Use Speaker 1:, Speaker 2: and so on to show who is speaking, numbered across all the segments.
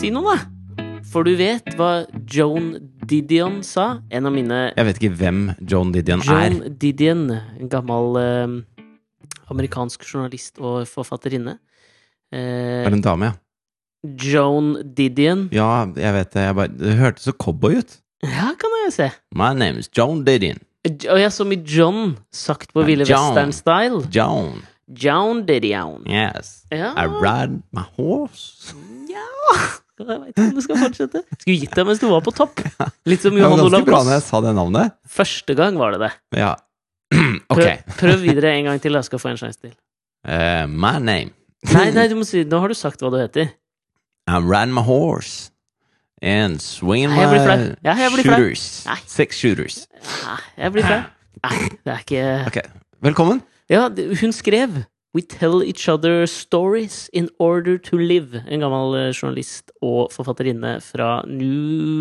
Speaker 1: Si noe, da. For du vet hva Joan Didion sa? En av mine
Speaker 2: Jeg vet ikke hvem Joan Didion
Speaker 1: Joan
Speaker 2: er.
Speaker 1: Didion, en gammel eh, amerikansk journalist og forfatterinne. Eh,
Speaker 2: Er det en dame, ja?
Speaker 1: Joan Didion.
Speaker 2: Ja, jeg vet det. Jeg bare, det hørtes så cowboy ut.
Speaker 1: Ja, kan jeg se.
Speaker 2: My name is Joan Didion.
Speaker 1: Og jeg som i John, sagt på
Speaker 2: Ja,
Speaker 1: Ville
Speaker 2: Joan.
Speaker 1: Western-style.
Speaker 2: Joan.
Speaker 1: Joan Didion.
Speaker 2: Yes.
Speaker 1: Ja.
Speaker 2: I ride my horse.
Speaker 1: Ja Jeg vet ikke om det skal fortsette. Skulle gitt deg mens du var på topp. Litt som
Speaker 2: Det var
Speaker 1: Johan
Speaker 2: ganske
Speaker 1: Olav
Speaker 2: bra når jeg
Speaker 1: Goss.
Speaker 2: sa det navnet.
Speaker 1: Første gang var det det.
Speaker 2: Ja.
Speaker 1: Prøv,
Speaker 2: ok.
Speaker 1: prøv videre en gang til, jeg skal få en sjanse til.
Speaker 2: Eh, my name.
Speaker 1: Nei, nei, du må si Nå har du sagt hva du heter.
Speaker 2: I'm riding my horse. And swinging
Speaker 1: Nei, jeg blir flau.
Speaker 2: my
Speaker 1: Ja, jeg blir flau.
Speaker 2: shooters.
Speaker 1: Nei.
Speaker 2: Six shooters.
Speaker 1: Nei, jeg blir flau. Nei, det er ikke
Speaker 2: Ok. Velkommen.
Speaker 1: Ja, det- hun skrev We tell each other stories in order to live. En gammel eh, journalist og forfatterinne fra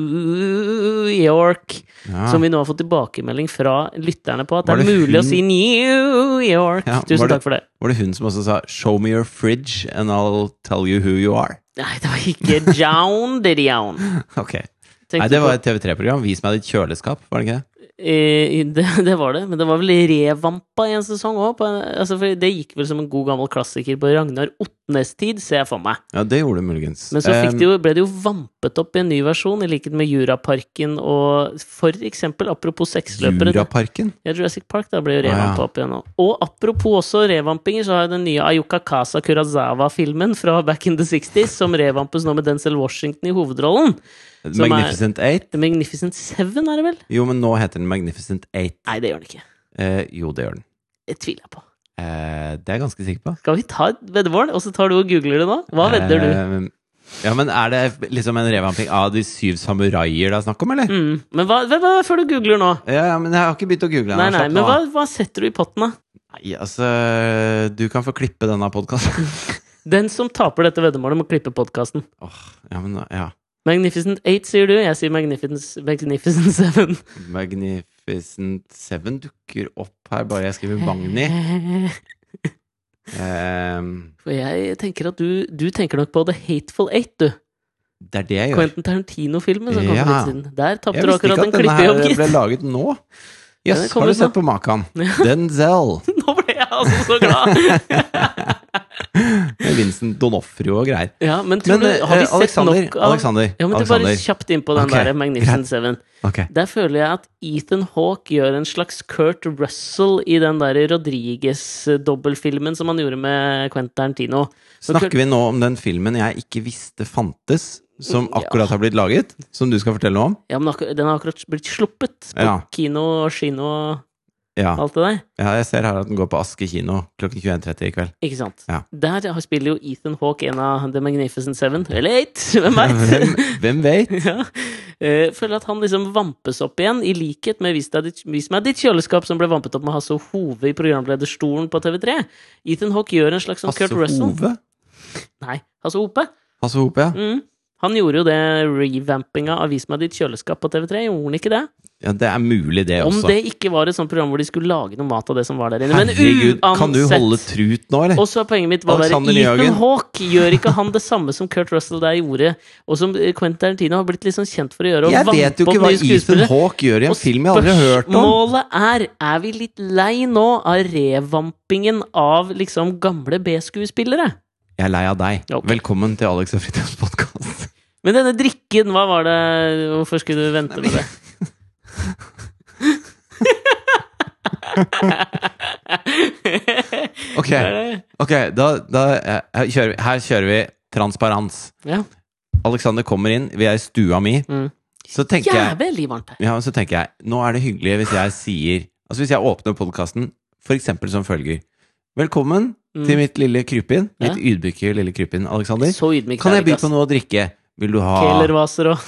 Speaker 1: New York.
Speaker 2: Ja.
Speaker 1: Som vi nå har fått tilbakemelding fra lytterne på at det
Speaker 2: Ah. Var
Speaker 1: er
Speaker 2: det
Speaker 1: mulig å
Speaker 2: hun-
Speaker 1: si New York.
Speaker 2: Ja, var
Speaker 1: Tusen
Speaker 2: det-
Speaker 1: takk for det.
Speaker 2: Var det hun som også sa 'show me your fridge and I'll tell you who you are'?
Speaker 1: Nei, det var ikke Jown Didion.
Speaker 2: Ok.
Speaker 1: Tenkte
Speaker 2: Nei, det var
Speaker 1: på-
Speaker 2: et TV3-program. Vis meg ditt kjøleskap, var det ikke det?
Speaker 1: Eh, det, det var det, men det var vel revampa i en sesong òg. Altså, for det gikk vel som en god gammel klassiker på Ragnar Otnes tid, ser jeg for meg.
Speaker 2: Ja, det gjorde det muligens.
Speaker 1: Men så fikk
Speaker 2: Eh,
Speaker 1: det jo, ble det jo vampet opp i en ny versjon, i likhet med Juraparken og for eksempel, apropos sexløpere
Speaker 2: Juraparken?
Speaker 1: ja, Jurassic Park da ble jo
Speaker 2: Ah, ja.
Speaker 1: revampa opp igjen nå. Og apropos også revampinger, så har jeg den nye Ayuka Kasa Kurazawa-filmen fra back in the 60s, som revampes nå med Denzel Washington i hovedrollen. Som er-
Speaker 2: Magnificent Eight?
Speaker 1: The Magnificent Seven, er det vel?
Speaker 2: Jo, men nå heter den Magnificent Eight.
Speaker 1: Nei, det gjør den ikke.
Speaker 2: Eh, jo, det gjør den.
Speaker 1: Det tviler jeg på.
Speaker 2: Eh, det er jeg ganske sikker på.
Speaker 1: Skal vi ta et veddemål, og så tar du og googler det nå? Hva vedder du?
Speaker 2: Eh, ja, men er det liksom en revamping av De syv samuraier det er snakk om, eller?
Speaker 1: Mm. Men hva, hva, hva før du googler nå?
Speaker 2: Ja, ja, men jeg har ikke begynt å google. den.
Speaker 1: Nei, nei,
Speaker 2: Slapp
Speaker 1: men
Speaker 2: nå
Speaker 1: hva,
Speaker 2: av.
Speaker 1: hva setter du i potten, da?
Speaker 2: Nei, altså, du kan få klippe denne podkasten.
Speaker 1: Den som taper dette veddemålet, må klippe podkasten.
Speaker 2: ja, men ja.
Speaker 1: Magnificent 8, sier du. Jeg sier Magnificent, Magnificent 7.
Speaker 2: Magnificent Seven dukker opp her, bare jeg skriver Magni. Ehm,
Speaker 1: For jeg tenker at du, du tenker nok på The Hateful Eight, du.
Speaker 2: det er det jeg gjør.
Speaker 1: Quentin Tarantino-filmen som kom for
Speaker 2: Ja.
Speaker 1: litt siden. Der tapte
Speaker 2: Jeg
Speaker 1: du
Speaker 2: visste ikke
Speaker 1: akkurat
Speaker 2: at
Speaker 1: en
Speaker 2: denne her
Speaker 1: klippejobb,
Speaker 2: ble
Speaker 1: gitt.
Speaker 2: laget nå.
Speaker 1: Ja,
Speaker 2: Jøss,
Speaker 1: den
Speaker 2: har
Speaker 1: kommer
Speaker 2: du sett på maken? Denzel.
Speaker 1: Nå ble jeg altså så glad!
Speaker 2: Med Vincent Donofrio og greier.
Speaker 1: Ja, men tror
Speaker 2: Men
Speaker 1: du, har vi
Speaker 2: eh,
Speaker 1: sett
Speaker 2: Alexander,
Speaker 1: nok av
Speaker 2: Alexander,
Speaker 1: Ja, men du bare
Speaker 2: Alexander.
Speaker 1: kjapt inn på den
Speaker 2: Ok,
Speaker 1: der Magnificent Seven.
Speaker 2: Ok.
Speaker 1: Der føler jeg at Ethan Hawke gjør en slags Kurt Russell i den der Rodriguez-dobbeltfilmen som han gjorde med Quentin Tarantino. Så Kurt-
Speaker 2: Snakker vi nå om den filmen jeg ikke visste fantes, som
Speaker 1: Ja.
Speaker 2: akkurat har blitt laget? Som du skal fortelle noe om?
Speaker 1: Ja, men akkur- den har akkurat blitt sluppet på
Speaker 2: Ja.
Speaker 1: kino og kino og
Speaker 2: Ja.
Speaker 1: alt det der.
Speaker 2: ja, jeg ser her at den går på Aske kino klokken 21.30 i kveld.
Speaker 1: Ikke sant?
Speaker 2: Ja.
Speaker 1: Der har- spiller jo Ethan Hawke en av The Magnificent Seven. Eller Eight, hvem
Speaker 2: Hvem,
Speaker 1: veit?
Speaker 2: hvem vet?
Speaker 1: ja. Eh, Føler at han liksom vampes opp igjen, i likhet med Vis deg ditt- Vis meg ditt kjøleskap, som ble vampet opp med Hasse Hove i programlederstolen på TV3. Ethan Hawke gjør en slags sånn
Speaker 2: Hasse
Speaker 1: Kurt Russell.
Speaker 2: Hove?
Speaker 1: Nei, Hasse Hope.
Speaker 2: Hasse Hope, ja.
Speaker 1: Mm. Han gjorde jo det revampinga av Vis meg ditt kjøleskap på TV3, gjorde han ikke det?
Speaker 2: ja. Det er mulig, det
Speaker 1: Om
Speaker 2: også.
Speaker 1: det ikke var et sånt program hvor de skulle lage noe mat av det som var der inne. Men
Speaker 2: Herregud,
Speaker 1: uansett
Speaker 2: kan du holde trut nå, eller?
Speaker 1: Og så er poenget mitt hva der
Speaker 2: Alexander
Speaker 1: Ethan
Speaker 2: Nyhagen.
Speaker 1: Hawke gjør ikke han det samme som Kurt Russell der gjorde, og som eh, Quentin Tarantino har blitt litt sånn kjent for å gjøre? og
Speaker 2: Jeg
Speaker 1: vampe
Speaker 2: vet jo
Speaker 1: opp
Speaker 2: ikke hva
Speaker 1: nye
Speaker 2: Ethan
Speaker 1: skuespillere.
Speaker 2: Hawke gjør i en
Speaker 1: Og
Speaker 2: film jeg aldri har hørt om.
Speaker 1: Spørsmålet er er vi litt lei nå av revampingen av liksom gamle B-skuespillere.
Speaker 2: Jeg er lei av deg.
Speaker 1: Ok.
Speaker 2: Velkommen til Alex og Fridtjofs podkast.
Speaker 1: Men denne drikken, hva var det Hvorfor skulle du vente med det?
Speaker 2: Ok,
Speaker 1: Det er det.
Speaker 2: ok, da, da eh, her kjører vi. Her kjører vi transparens.
Speaker 1: Ja.
Speaker 2: Alexander kommer inn, vi er i stua mi.
Speaker 1: Mm.
Speaker 2: Så tenker jeg
Speaker 1: Jævlig varmt her.
Speaker 2: Ja, men så tenker jeg, nå er det hyggelig hvis jeg sier Altså hvis jeg åpner podkasten f.eks. som følger Velkommen
Speaker 1: Mm.
Speaker 2: til mitt lille krypinn, mitt ydmyke lille krypinn, Alexander.
Speaker 1: Så ydmykt.
Speaker 2: Kan
Speaker 1: er
Speaker 2: jeg
Speaker 1: det
Speaker 2: by
Speaker 1: ikke,
Speaker 2: på
Speaker 1: ass.
Speaker 2: noe å drikke? Vil du ha
Speaker 1: Kælervaser og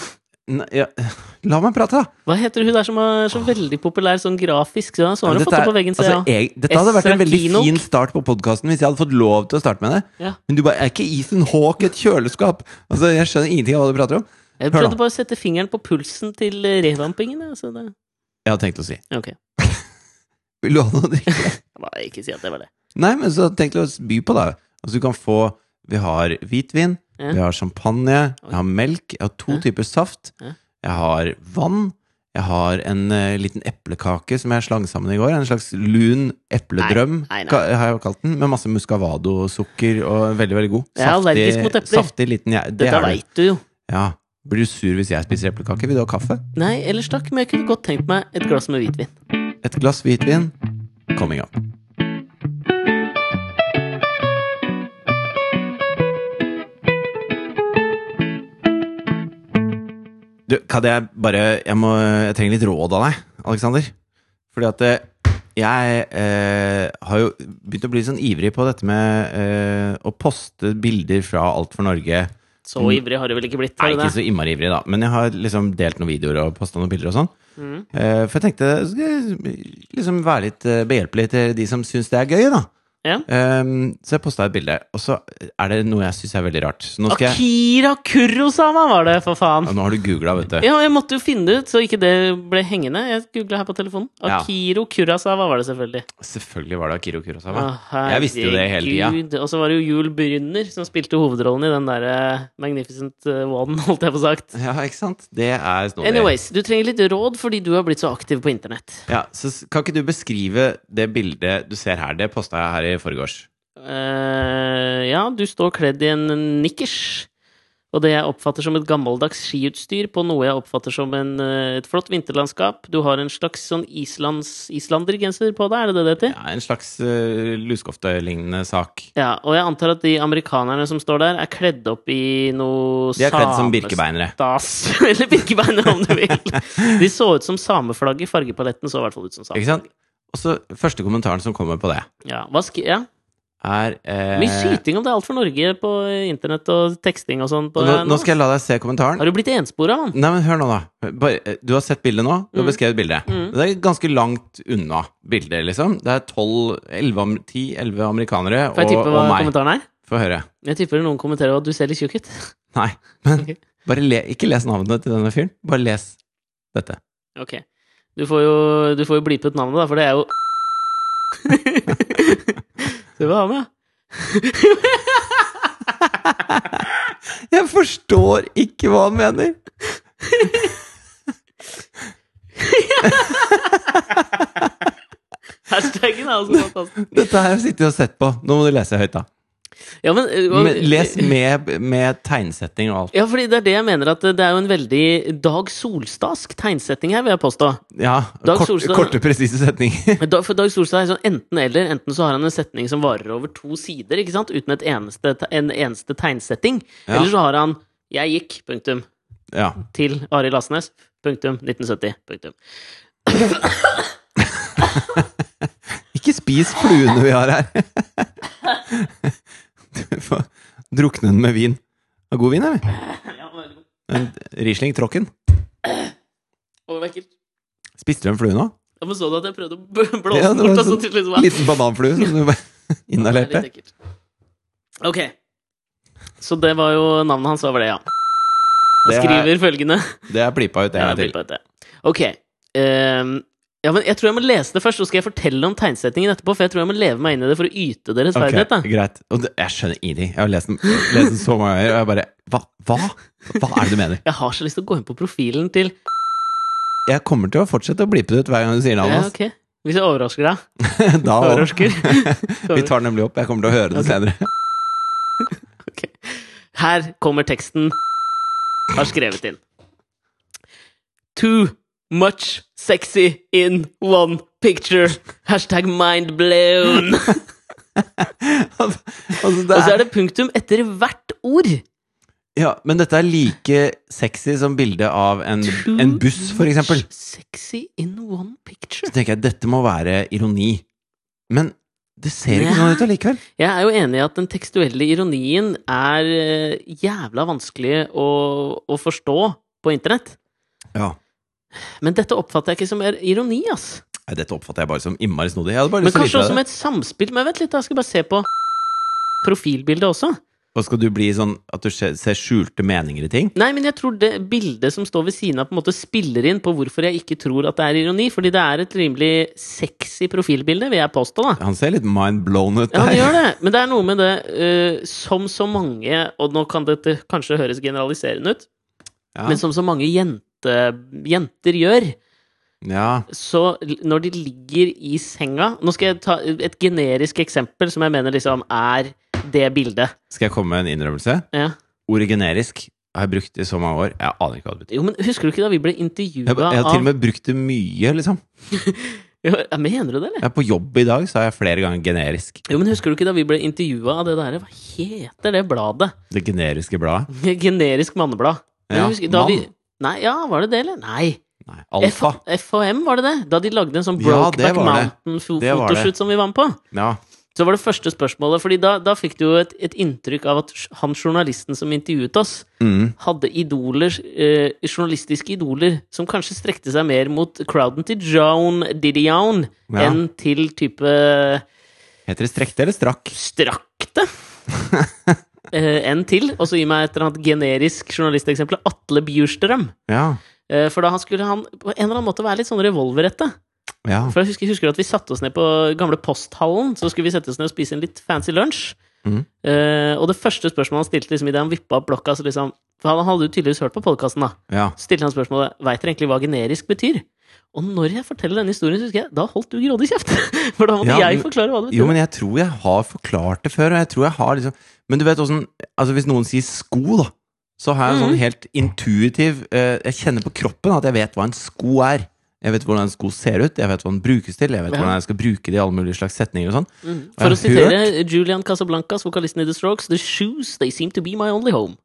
Speaker 2: Nei, ja. La meg prate, da!
Speaker 1: Hva heter hun der som er så veldig populær sånn grafisk? Sånn, sånn har
Speaker 2: Men
Speaker 1: hun fått det
Speaker 2: er-
Speaker 1: på veggen, ser
Speaker 2: altså,
Speaker 1: jeg.
Speaker 2: jeg, dette hadde vært en veldig
Speaker 1: Esra
Speaker 2: fin start på podkasten hvis jeg hadde fått lov til å starte med det.
Speaker 1: Ja.
Speaker 2: Men du bare Er ikke Ethan Hawke et kjøleskap? Altså, Jeg skjønner ingenting av hva du prater om.
Speaker 1: Jeg
Speaker 2: Hør
Speaker 1: prøvde
Speaker 2: nå.
Speaker 1: bare å sette fingeren på pulsen til eh, revampingen. jeg, så det...
Speaker 2: Jeg hadde tenkt å si
Speaker 1: Ok. Jeg
Speaker 2: Vil du ha noe å drikke?
Speaker 1: bare ikke si at det var det.
Speaker 2: Nei, men så tenk deg å by på, da. Altså, du kan få Vi har hvitvin,
Speaker 1: Ja.
Speaker 2: jeg har champagne, jeg har melk, jeg har to
Speaker 1: Ja.
Speaker 2: typer saft,
Speaker 1: Ja.
Speaker 2: jeg har vann, jeg har en eh, liten eplekake som jeg slang sammen i går. En slags lun epledrøm,
Speaker 1: Nei, nei, nei.
Speaker 2: ka- har jeg jo kalt den, med masse muscavadosukker og veldig, veldig god.
Speaker 1: Jeg er allergisk mot epler.
Speaker 2: Saftig liten jeg, det
Speaker 1: Dette
Speaker 2: er du.
Speaker 1: veit du jo.
Speaker 2: Ja. Blir du sur hvis jeg spiser eplekake? Vil du ha kaffe?
Speaker 1: Nei, ellers takk, men jeg kunne godt tenkt meg et glass med hvitvin.
Speaker 2: Et glass hvitvin? Coming up. Du, kan jeg bare Jeg, må, jeg trenger litt råd av deg, Aleksander. Fordi at eh, jeg eh, har jo begynt å bli sånn ivrig på dette med eh, å poste bilder fra Alt for Norge.
Speaker 1: Så ivrig har du vel ikke blitt?
Speaker 2: Mm. Nei,
Speaker 1: Har du
Speaker 2: ikke
Speaker 1: det?
Speaker 2: så innmari ivrig, da. Men jeg har liksom delt noen videoer og posta noen bilder og sånn.
Speaker 1: Mm.
Speaker 2: Eh, For jeg tenkte skal jeg liksom være litt eh, behjelpelig til de som syns det er gøy, da.
Speaker 1: Ja.
Speaker 2: Ehm, så jeg posta et bilde, og så er det noe jeg syns er veldig rart. Så nå skal jeg
Speaker 1: Akira Kurosama var det, for faen!
Speaker 2: ja, Nå har du googla, vet du.
Speaker 1: Ja, jeg måtte jo finne det ut, så ikke det ble hengende. Jeg googla her på telefonen.
Speaker 2: Ja.
Speaker 1: Akiro Kurosawa var det selvfølgelig.
Speaker 2: Selvfølgelig var det Akiro Kurosawa.
Speaker 1: Å,
Speaker 2: Jeg visste jo det hele tida.
Speaker 1: herregud. Og så var det jo Jul Brynner som spilte hovedrollen i den der eh, Magnificent eh, One, holdt jeg på sagt.
Speaker 2: Ja, ikke sant? Det er snodig.
Speaker 1: Anyways, du trenger litt råd fordi du har blitt så aktiv på internett.
Speaker 2: Ja, så s- kan ikke du beskrive det bildet du ser her? Det posta jeg her i forgårs.
Speaker 1: Eh, ja, du står kledd i en nikkers. Og det jeg oppfatter som et gammeldags skiutstyr på noe jeg oppfatter som en, eh, et flott vinterlandskap. Du har en slags sånn islands, islandergenser på deg, er det det det heter?
Speaker 2: Ja, en slags uh, luskoftelignende sak.
Speaker 1: Ja, og jeg antar at de amerikanerne som står der, er kledd opp i noe
Speaker 2: De er kledd som birkebeinere.
Speaker 1: samestas- Eller birkebeiner, om du vil. De så ut som sameflagget. Fargepaletten så i hvert fall ut som
Speaker 2: Ikke
Speaker 1: sameflagget.
Speaker 2: sant? Og så første kommentaren som kommer på det,
Speaker 1: Ja, hva sk ja.
Speaker 2: er eh,
Speaker 1: Mye syting om det er alt for Norge på internett og teksting og sånn. på-
Speaker 2: og nå, nå skal jeg la deg se kommentaren.
Speaker 1: Har du blitt enspora, mann?
Speaker 2: Nei, men hør nå, da. Bare, eh, du har sett bildet nå. Du har
Speaker 1: Mm.
Speaker 2: beskrevet bildet.
Speaker 1: Mm.
Speaker 2: Det er ganske langt unna bildet, liksom. Det er 10-11 amerikanere
Speaker 1: Får jeg
Speaker 2: og,
Speaker 1: tippe hva
Speaker 2: og meg.
Speaker 1: kommentaren er?
Speaker 2: Få høre.
Speaker 1: Jeg tipper noen kommenterer at du ser litt tjukk ut.
Speaker 2: Nei, men
Speaker 1: Ok.
Speaker 2: bare le, ikke les navnet til denne fyren. Bare les dette.
Speaker 1: Ok. Du får jo, du får jo blipet navnet, da, for det er jo Se hva han er.
Speaker 2: Jeg forstår ikke hva han mener!
Speaker 1: Hashtaggen er altså fantastisk.
Speaker 2: Dette har jeg sittet og sett på. Nå må du lese høyt, da.
Speaker 1: Ja, men, eh, hva-
Speaker 2: Men les med, med tegnsetting og alt.
Speaker 1: Ja, fordi det er det jeg mener at det er jo en veldig Dag Solstadsk tegnsetting her, vil jeg påstå.
Speaker 2: Ja,
Speaker 1: Dag
Speaker 2: kort,
Speaker 1: Solstad-
Speaker 2: korte, presise setninger.
Speaker 1: Da- For Dag Solstad er sånn enten-eller. Enten så har han en setning som varer over to sider, ikke sant? uten et eneste, te- en eneste tegnsetting.
Speaker 2: Ja.
Speaker 1: Eller så har han 'Jeg gikk', punktum.
Speaker 2: Ja.
Speaker 1: Til Arild Asnes, punktum. 1970, punktum.
Speaker 2: Ikke spis fluene vi har her. Du får drukne den med vin. Det er god vin, eller?
Speaker 1: Ja, veldig god.
Speaker 2: En Riesling Trocken.
Speaker 1: Å, vekkelt.
Speaker 2: Spiste du en flue nå?
Speaker 1: Ja, men så du at jeg prøvde å b- blåse
Speaker 2: Ja,
Speaker 1: bort,
Speaker 2: det var
Speaker 1: og
Speaker 2: sånn
Speaker 1: så til slutt var
Speaker 2: Liten bananflue som du bare
Speaker 1: Det
Speaker 2: inhalerte.
Speaker 1: er litt ekkelt. Ok. Så det var jo navnet hans, var vel det, ja.
Speaker 2: Det
Speaker 1: Han
Speaker 2: er-
Speaker 1: skriver følgende
Speaker 2: Det er blipa ut en gang
Speaker 1: Ja,
Speaker 2: til.
Speaker 1: jeg blir på dette. Ok. ehm, ja, men jeg tror jeg må lese det først, så skal jeg fortelle om tegnsettingen etterpå. For jeg tror jeg må leve meg inn i det for å yte deres
Speaker 2: Ok,
Speaker 1: ferdighet. Da.
Speaker 2: greit. Og det, jeg skjønner ingenting. Jeg har lest den, lest den så mange ganger, og jeg bare hva, hva? Hva er det du mener?
Speaker 1: Jeg har så lyst til å gå inn på profilen til
Speaker 2: Jeg kommer til å fortsette å blipe det ut hver gang du sier
Speaker 1: ja,
Speaker 2: navnet hans.
Speaker 1: ok. Hvis jeg overrasker deg.
Speaker 2: Da også.
Speaker 1: Overrasker.
Speaker 2: Vi tar den nemlig opp. Jeg kommer til å høre det senere.
Speaker 1: Ok. Her kommer teksten har skrevet inn. Too much sexy in one picture. Hashtag mind blown.
Speaker 2: Altså,
Speaker 1: Og
Speaker 2: det
Speaker 1: så
Speaker 2: er,
Speaker 1: er det punktum etter hvert ord.
Speaker 2: ja, men dette er like sexy som bildet av en,
Speaker 1: Mm. Too
Speaker 2: en buss, for eksempel.
Speaker 1: much Sexy in one picture.
Speaker 2: så tenker jeg dette må være ironi. Men det ser ikke sånn ut allikevel.
Speaker 1: Jeg er jo enig i at den tekstuelle ironien er eh, jævla vanskelig å, å forstå på internett.
Speaker 2: Ja.
Speaker 1: Men dette oppfatter jeg ikke som er ironi, ass.
Speaker 2: Nei, dette oppfatter jeg bare som innmari snodig. Jeg hadde bare
Speaker 1: Men
Speaker 2: lyst til å
Speaker 1: kanskje
Speaker 2: vise
Speaker 1: også
Speaker 2: deg det.
Speaker 1: med et samspill Men vent litt, da. Jeg skal bare se på profilbildet også.
Speaker 2: Og skal du bli sånn at du ser ser skjulte meninger i ting?
Speaker 1: Nei, men jeg tror det bildet som står ved siden av, på en måte spiller inn på hvorfor jeg ikke tror at det er ironi. Fordi det er et rimelig sexy profilbilde, vil jeg påstå. da.
Speaker 2: Han ser litt mind blown ut
Speaker 1: Ja,
Speaker 2: der.
Speaker 1: det gjør det. Men det er noe med det eh, Som så mange, og nå kan dette kanskje høres generaliserende ut,
Speaker 2: Ja.
Speaker 1: men som så mange jente, jenter gjør,
Speaker 2: ja.
Speaker 1: så l- når de ligger i senga Nå skal jeg ta et generisk eksempel som jeg mener liksom er det bildet.
Speaker 2: Skal jeg komme med en innrømmelse?
Speaker 1: Ja.
Speaker 2: Ordet generisk har jeg brukt i så mange år. Jeg aner ikke hva det betyr.
Speaker 1: Jo, men husker du ikke da vi ble
Speaker 2: Jeg,
Speaker 1: intervjua
Speaker 2: jeg har til og
Speaker 1: av
Speaker 2: med brukt det mye, liksom.
Speaker 1: Jo, ja, Mener du det, eller?
Speaker 2: Jeg er på jobb i dag, sa jeg flere ganger generisk.
Speaker 1: Jo, men husker du ikke da vi ble intervjua av det der Hva heter det bladet?
Speaker 2: Det generiske bladet.
Speaker 1: Generisk manneblad. Men
Speaker 2: Ja,
Speaker 1: husker- da vi-
Speaker 2: Mann.
Speaker 1: Nei, ja, var det det, eller? Nei.
Speaker 2: Nei,
Speaker 1: F-
Speaker 2: alfa.
Speaker 1: FHM, var det det? Da de lagde en sånn
Speaker 2: Ja, det
Speaker 1: Brokeback
Speaker 2: var det. Det var det.
Speaker 1: Mountain-fotoshoot som vi var med på.
Speaker 2: Ja.
Speaker 1: Så var det første spørsmålet, fordi da, da fikk du jo et, et inntrykk av at sj- han journalisten som intervjuet oss,
Speaker 2: Mm.
Speaker 1: hadde idoler, eh, journalistiske idoler, som kanskje strekte seg mer mot crowden til Joan Didion
Speaker 2: Ja.
Speaker 1: enn til type
Speaker 2: Heter det strekte eller strakk?
Speaker 1: strakte. Eh, enn til. Og så gi meg et eller annet generisk journalisteksempel. Atle Bjurstrøm.
Speaker 2: Ja.
Speaker 1: Eh, for da han skulle han på en eller annen måte være litt sånn revolverette.
Speaker 2: Ja.
Speaker 1: For jeg husker, husker at vi satte oss ned på gamle posthallen, så skulle vi sette oss ned og spise en litt fancy lunsj.
Speaker 2: Mhm.
Speaker 1: Eh, og det første spørsmålet han stilte liksom, idet han vippa opp blokka så liksom, For han hadde jo tydeligvis hørt på podkasten, da.
Speaker 2: ja.
Speaker 1: Så stilte han spørsmålet Veit dere egentlig hva generisk betyr? Og når jeg forteller denne historien, så husker jeg da holdt du grådig kjeft! For da måtte
Speaker 2: Ja,
Speaker 1: jeg
Speaker 2: men-
Speaker 1: forklare hva det
Speaker 2: Jo,
Speaker 1: betydde.
Speaker 2: men jeg tror jeg har forklart det før, og jeg tror jeg har liksom Men du vet åssen Altså, hvis noen sier sko, da, så har jeg en sånn
Speaker 1: Mhm.
Speaker 2: helt intuitiv eh, Jeg kjenner på kroppen at jeg vet hva en sko er. Jeg vet hvordan en sko ser ut, jeg vet hva den brukes til, jeg vet
Speaker 1: Ja.
Speaker 2: hvordan jeg skal bruke det i alle mulige slags setninger og sånn.
Speaker 1: Mhm.
Speaker 2: jeg
Speaker 1: For å
Speaker 2: har
Speaker 1: sitere Julian Casablancas, vokalisten i The Strokes, The shoes they seem to be my only home.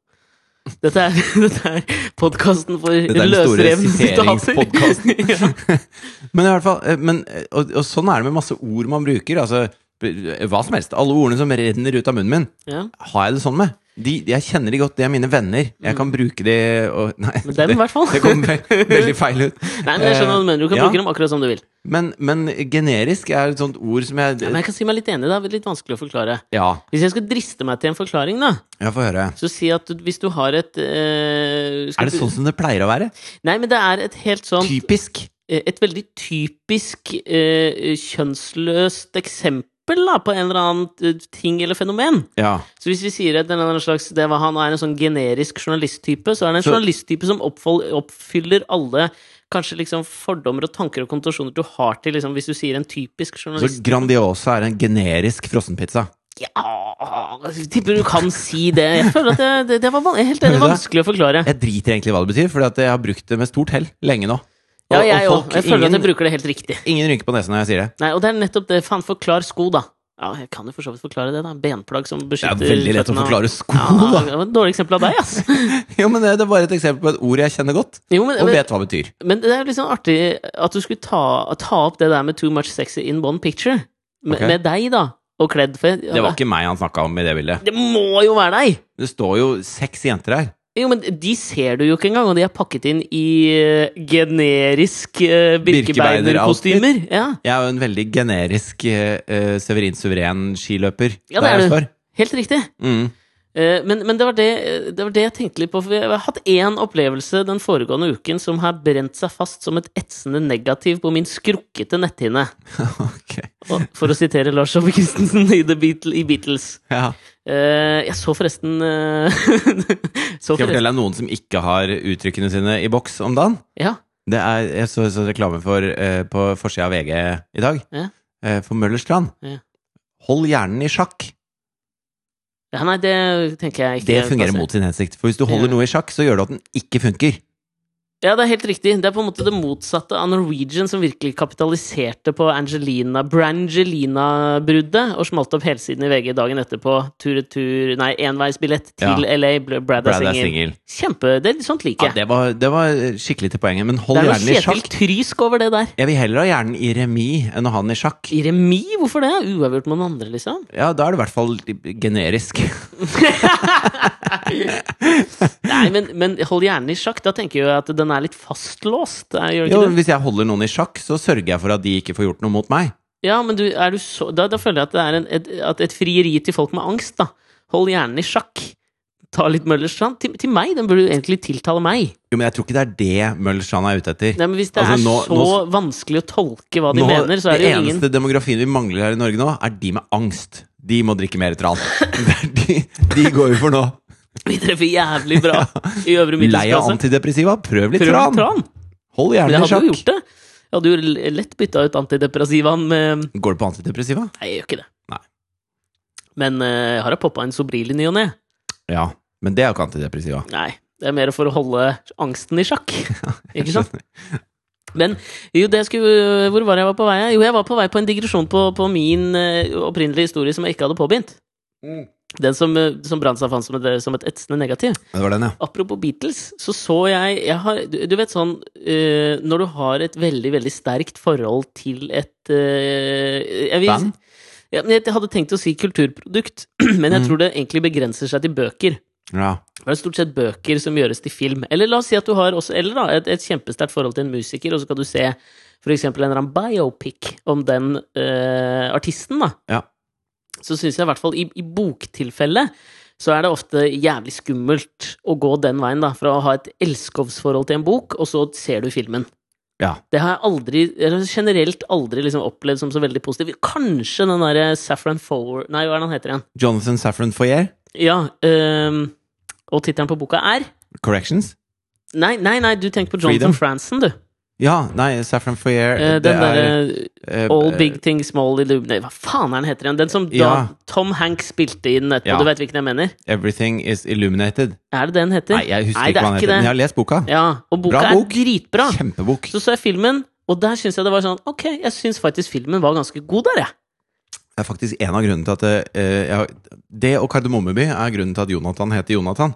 Speaker 1: Dette er, dette er podkasten for
Speaker 2: er den store
Speaker 1: løsrevne
Speaker 2: siteringspodcasten.
Speaker 1: sitater. ja.
Speaker 2: Men i hvert fall eh, men, eh, og, og sånn er det med masse ord man bruker. Altså b- hva som helst. Alle ordene som renner ut av munnen min,
Speaker 1: Ja.
Speaker 2: har jeg det sånn med. De, jeg kjenner de godt, de er mine venner. Jeg kan bruke de og Nei,
Speaker 1: Mm. Men dem, i hvert fall.
Speaker 2: det kom ve veldig feil ut.
Speaker 1: Nei, men jeg skjønner hva du mener. Du kan
Speaker 2: Ja.
Speaker 1: bruke dem akkurat som du vil.
Speaker 2: Men, men generisk er et sånt ord som jeg
Speaker 1: Men jeg kan si meg litt enig, det er litt vanskelig å forklare.
Speaker 2: Ja,
Speaker 1: Hvis jeg skal driste meg til en forklaring, da,
Speaker 2: jeg får høre.
Speaker 1: så si at du, hvis du har et eh, skal
Speaker 2: Er det
Speaker 1: du-
Speaker 2: sånn som det pleier å være?
Speaker 1: Nei, men det er et helt sånn
Speaker 2: Typisk.
Speaker 1: eh, Et veldig typisk eh, kjønnsløst eksempel, da, på en eller annen eh, ting eller fenomen.
Speaker 2: Ja.
Speaker 1: Så hvis vi sier at en eller annen slags, det var, han er en sånn generisk journalisttype, så er det en
Speaker 2: Så-
Speaker 1: journalisttype som oppfol- oppfyller alle kanskje liksom fordommer og tanker og kontensjoner du har til liksom, hvis du sier en typisk
Speaker 2: Så
Speaker 1: journalist.
Speaker 2: Grandiosa er en generisk frossenpizza.
Speaker 1: Ja jeg Tipper du kan si det. Jeg føler at det, det, det var van- jeg er helt enig, det er vanskelig å forklare.
Speaker 2: Jeg driter egentlig i hva det betyr, for jeg har brukt det med stort hell lenge nå. Og-
Speaker 1: Ja, jeg
Speaker 2: og
Speaker 1: òg.
Speaker 2: folk-
Speaker 1: Jeg føler at jeg
Speaker 2: ingen,
Speaker 1: bruker det helt riktig.
Speaker 2: ingen rynker på nesen når jeg sier det.
Speaker 1: Nei, Og det er nettopp det. Faen, forklar sko, da. Ja, jeg kan jo for så vidt forklare det, da. Benplagg som
Speaker 2: Det
Speaker 1: beskytter
Speaker 2: er veldig lett å
Speaker 1: føttene.
Speaker 2: forklare sko,
Speaker 1: Ja,
Speaker 2: da.
Speaker 1: det var et dårlig eksempel av deg, ass.
Speaker 2: Jo, men det det er bare et eksempel på et ord jeg kjenner godt,
Speaker 1: Jo, men,
Speaker 2: og vet hva det betyr.
Speaker 1: Men det er jo litt sånn artig at du skulle ta, ta opp det der med too much sexy in one picture. Med,
Speaker 2: Ok.
Speaker 1: med deg, da. Og kledd for
Speaker 2: Det var ikke meg han snakka om i det bildet.
Speaker 1: Det må jo være deg!
Speaker 2: Det står jo seks jenter her.
Speaker 1: Jo, men de ser du jo ikke engang, og de er pakket inn i eh, generisk eh,
Speaker 2: Birkebeinerkostymer.
Speaker 1: birkebeinerkostymer. Ja,
Speaker 2: Jeg er jo en veldig generisk eh, eh, Severin Suveren skiløper.
Speaker 1: Ja, det
Speaker 2: der jeg
Speaker 1: er
Speaker 2: står.
Speaker 1: helt riktig.
Speaker 2: Mm.
Speaker 1: Eh, Men, men det, var det, det var det jeg tenkte litt på, for jeg har hatt én opplevelse den foregående uken som har brent seg fast som et etsende negativ på min skrukkete netthinne.
Speaker 2: Ok.
Speaker 1: Og- For å sitere Lars Saabye Christensen i, The Beatle, i Beatles.
Speaker 2: Ja.
Speaker 1: Eh, jeg så forresten eh, så
Speaker 2: Skal jeg
Speaker 1: forresten,
Speaker 2: fortelle deg noen som ikke har uttrykkene sine i boks om dagen?
Speaker 1: ja,
Speaker 2: Det er, jeg så, så reklame for, eh, på forsida av VG i dag,
Speaker 1: Ja.
Speaker 2: eh, for Møllerstrand.
Speaker 1: Ja.
Speaker 2: Hold hjernen i sjakk.
Speaker 1: ja, nei, det tenker jeg ikke
Speaker 2: Det fungerer
Speaker 1: passer.
Speaker 2: mot sin hensikt. For hvis du holder
Speaker 1: Ja.
Speaker 2: noe i sjakk, så gjør det at den ikke funker.
Speaker 1: Ja, det er helt riktig. Det er på en måte det motsatte av Norwegian, som virkelig kapitaliserte på Angelina Brangelina-bruddet og smalt opp helsiden i VG dagen etterpå. Tur-retur Nei, enveisbillett til
Speaker 2: Ja.
Speaker 1: LA. Bl- Brad er
Speaker 2: Brad er
Speaker 1: singel.
Speaker 2: singel.
Speaker 1: Kjempe det, Sånt
Speaker 2: Ja,
Speaker 1: liker jeg.
Speaker 2: det, var- det var skikkelig til poenget. Men
Speaker 1: det
Speaker 2: hold
Speaker 1: er
Speaker 2: hjernen
Speaker 1: noe
Speaker 2: i
Speaker 1: Kjetil
Speaker 2: sjakk.
Speaker 1: Trysk over det der.
Speaker 2: Jeg vil heller ha hjernen i remis enn å ha den i sjakk.
Speaker 1: I remis? Hvorfor det? Uavgjort med noen andre, liksom?
Speaker 2: Ja, da er det i hvert fall generisk.
Speaker 1: Nei, men, men hold hjernen i sjakk. Da tenker jeg jo at den er litt fastlåst. Er- Gjør den
Speaker 2: Jo,
Speaker 1: ikke det?
Speaker 2: hvis jeg holder noen i sjakk, så sørger jeg for at de ikke får gjort noe mot meg.
Speaker 1: Ja, men du, er du så, da, da føler jeg at det er en, et, at et frieri til folk med angst, da. Hold hjernen i sjakk. Ta litt Møllerstrand. Til, til meg, den burde jo egentlig tiltale meg.
Speaker 2: Jo, men jeg tror ikke det er det Møllerstrand er ute etter.
Speaker 1: Nei, men Hvis det
Speaker 2: Altså,
Speaker 1: er
Speaker 2: nå-
Speaker 1: så vanskelig å tolke hva de
Speaker 2: Nå-
Speaker 1: mener, så er det jo ingen
Speaker 2: eneste demografien vi mangler her i Norge nå, er de med angst. De må drikke mer tran. Det er de, de går vi for nå.
Speaker 1: Vi treffer jævlig bra i øvre
Speaker 2: Lei av
Speaker 1: middelsklasse.
Speaker 2: antidepressiva, prøv litt
Speaker 1: Prøv
Speaker 2: tran.
Speaker 1: tran.
Speaker 2: Hold
Speaker 1: Men
Speaker 2: hjernen
Speaker 1: jeg
Speaker 2: i
Speaker 1: hadde jo
Speaker 2: sjakk.
Speaker 1: gjort det. Jeg hadde jo lett bytta ut antidepressivaen med
Speaker 2: Går du på antidepressiva?
Speaker 1: Nei, jeg gjør ikke det.
Speaker 2: Nei.
Speaker 1: Men eh, jeg har da poppa en Sobril i ny og ne.
Speaker 2: Ja, men det er jo ikke antidepressiva.
Speaker 1: Nei, det er mer for å holde angsten i sjakk. Ikke sant? Men jo, det skulle, hvor var jeg var på vei? Jo, jeg var på vei på en digresjon på, på min eh, opprinnelige historie som jeg ikke hadde påbegynt. Den som, eh, som brant seg fant som et, som et etsende negativ.
Speaker 2: Det var den, ja.
Speaker 1: Apropos Beatles, så så jeg, jeg har, du, du vet sånn eh, Når du har et veldig, veldig sterkt forhold til et eh, jeg vil-
Speaker 2: Band?
Speaker 1: Ja, men jeg hadde tenkt å si kulturprodukt, men jeg tror det egentlig begrenser seg til bøker.
Speaker 2: ja.
Speaker 1: Det er stort sett bøker som gjøres til film. Eller la oss si at du har også, eller da, et, et kjempesterkt forhold til en musiker, og så kan du se for eksempel en eller annen biopic om den eh, artisten, da.
Speaker 2: Ja.
Speaker 1: Så syns jeg i hvert fall i, i boktilfellet så er det ofte jævlig skummelt å gå den veien, da. Fra å ha et elskovsforhold til en bok, og så ser du filmen.
Speaker 2: Ja.
Speaker 1: Det har jeg aldri, eller generelt aldri liksom opplevd som så veldig positivt. Kanskje den derre Saffron Fower Nei, hva er det han heter igjen?
Speaker 2: Jonathan Safran Foyer.
Speaker 1: Ja, ehm, og tittelen på boka er
Speaker 2: Corrections?
Speaker 1: Nei, nei, nei, du tenker på Jonathan
Speaker 2: Freedom.
Speaker 1: Franzen, du.
Speaker 2: Ja, nei, Safran Foyer
Speaker 1: Eh, den derre
Speaker 2: eh,
Speaker 1: All
Speaker 2: eh,
Speaker 1: Big Things Small Illuminate Hva faen er den heter igjen? Den som da
Speaker 2: Ja.
Speaker 1: Tom Hanks spilte inn etterpå.
Speaker 2: Ja.
Speaker 1: Du vet hvilken jeg mener?
Speaker 2: Everything is illuminated.
Speaker 1: Er det det den heter?
Speaker 2: Nei, jeg husker
Speaker 1: Nei, det
Speaker 2: ikke hva
Speaker 1: er
Speaker 2: den
Speaker 1: ikke
Speaker 2: heter, men
Speaker 1: det.
Speaker 2: jeg har lest boka.
Speaker 1: Ja, og boka
Speaker 2: Bra
Speaker 1: er
Speaker 2: bok.
Speaker 1: dritbra.
Speaker 2: Kjempebok.
Speaker 1: Så så jeg filmen, og der syns jeg det var sånn Ok, jeg syns faktisk filmen var ganske god der, jeg.
Speaker 2: Det er faktisk en av grunnene til at eh, jeg, har- Det og Kardemommeby er grunnen til at Jonathan heter Jonathan.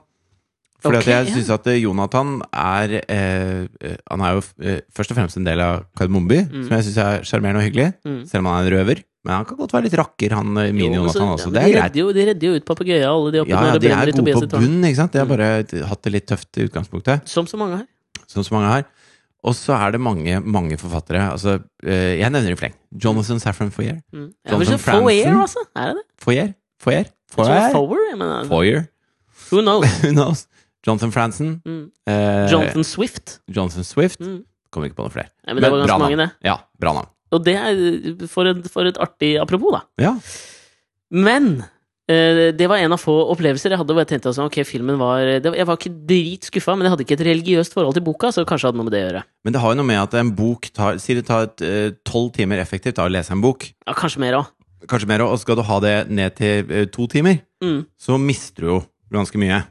Speaker 2: Fordi
Speaker 1: Ok,
Speaker 2: at jeg
Speaker 1: ja.
Speaker 2: synes syns at eh, Jonathan er eh, eh, Han er jo eh, først og fremst en del av Kardemommeby, som jeg syns er sjarmerende og hyggelig.
Speaker 1: Mm.
Speaker 2: Selv om han er en røver. Men han kan godt være litt rakker, han eh,
Speaker 1: Jo, men så-
Speaker 2: mini-Jonathan også.
Speaker 1: ja, men
Speaker 2: Det er
Speaker 1: de
Speaker 2: greit.
Speaker 1: redder jo, de redder jo ut papegøyen, alle de oppe
Speaker 2: Ja,
Speaker 1: når
Speaker 2: ja,
Speaker 1: det
Speaker 2: de
Speaker 1: brenner
Speaker 2: er
Speaker 1: i
Speaker 2: gode
Speaker 1: Tobias Mm. i
Speaker 2: på
Speaker 1: tårnet.
Speaker 2: bunnen, ikke sant. De har bare hatt det litt tøft i utgangspunktet
Speaker 1: Som så mange her.
Speaker 2: sånn som mange har. Og så er det mange, mange forfattere. Altså, eh, jeg nevner i fleng. Jonathan Safran Foyer.
Speaker 1: Mm. Ja,
Speaker 2: Jonathan
Speaker 1: men så
Speaker 2: Franzen.
Speaker 1: Foyer, altså. Er det det?
Speaker 2: Foyer? Foyer?
Speaker 1: Jeg tror det er
Speaker 2: Foyer?
Speaker 1: Fower, jeg mener.
Speaker 2: Foyer.
Speaker 1: Who knows?
Speaker 2: Who knows? Jonathan Franzen.
Speaker 1: Mm.
Speaker 2: eh,
Speaker 1: Jonathan Swift.
Speaker 2: Jonathan Swift.
Speaker 1: Mm.
Speaker 2: Kommer ikke på noen flere.
Speaker 1: Nei, men det var
Speaker 2: Men bra
Speaker 1: ganske mange,
Speaker 2: navn.
Speaker 1: det.
Speaker 2: Ja, bra navn.
Speaker 1: Og det er for, en, for et artig apropos, da.
Speaker 2: Ja.
Speaker 1: Men eh, det var en av få opplevelser jeg hadde hvor jeg tenkte sånn, ok, filmen var det, var- Jeg var ikke dritskuffa, men jeg hadde ikke et religiøst forhold til boka, så kanskje hadde noe med det å gjøre.
Speaker 2: Men det har jo noe med at en bok tar Si det tar eh, tolv timer effektivt da, å lese en bok,
Speaker 1: Ja, kanskje mer òg.
Speaker 2: kanskje mer, og skal du ha det ned til eh, to timer,
Speaker 1: Mm.
Speaker 2: så mister du jo ganske mye.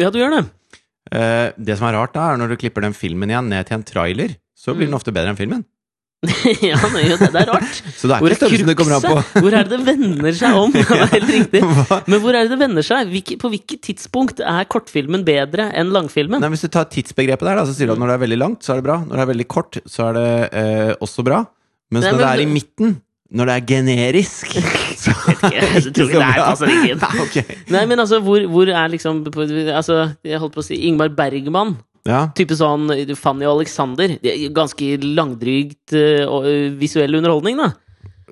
Speaker 1: Ja, du gjør det.
Speaker 2: Eh, det som er rart, da, er når du klipper den filmen igjen ned til en trailer, så
Speaker 1: Mm.
Speaker 2: blir den ofte bedre enn filmen.
Speaker 1: ja, men jo, det, det er rart.
Speaker 2: Så det er
Speaker 1: Hvor er
Speaker 2: ikke størrelsen det kommer an på.
Speaker 1: cruxet? Hvor er det det vender seg om? Det var helt riktig.
Speaker 2: Hva?
Speaker 1: Men hvor er det det vender seg? Hvilke, på hvilket tidspunkt er kortfilmen bedre enn langfilmen?
Speaker 2: Nei, hvis du tar tidsbegrepet der, da, så sier du at når det er veldig langt, så er det bra. Når det er veldig kort, så er det eh, også bra. Mens
Speaker 1: Nei,
Speaker 2: når
Speaker 1: men
Speaker 2: det er i
Speaker 1: du-
Speaker 2: midten, når det er generisk, altså, så er det
Speaker 1: Jeg tror ikke det er passer ikke inn.
Speaker 2: Nei, ok.
Speaker 1: Nei, men altså, hvor, hvor er liksom altså, Jeg holdt på å si Ingmar Bergman.
Speaker 2: Ja,
Speaker 1: Type sånn Fanny og Alexander. Det er Ganske langdrygt eh, og, eh, visuell underholdning, da.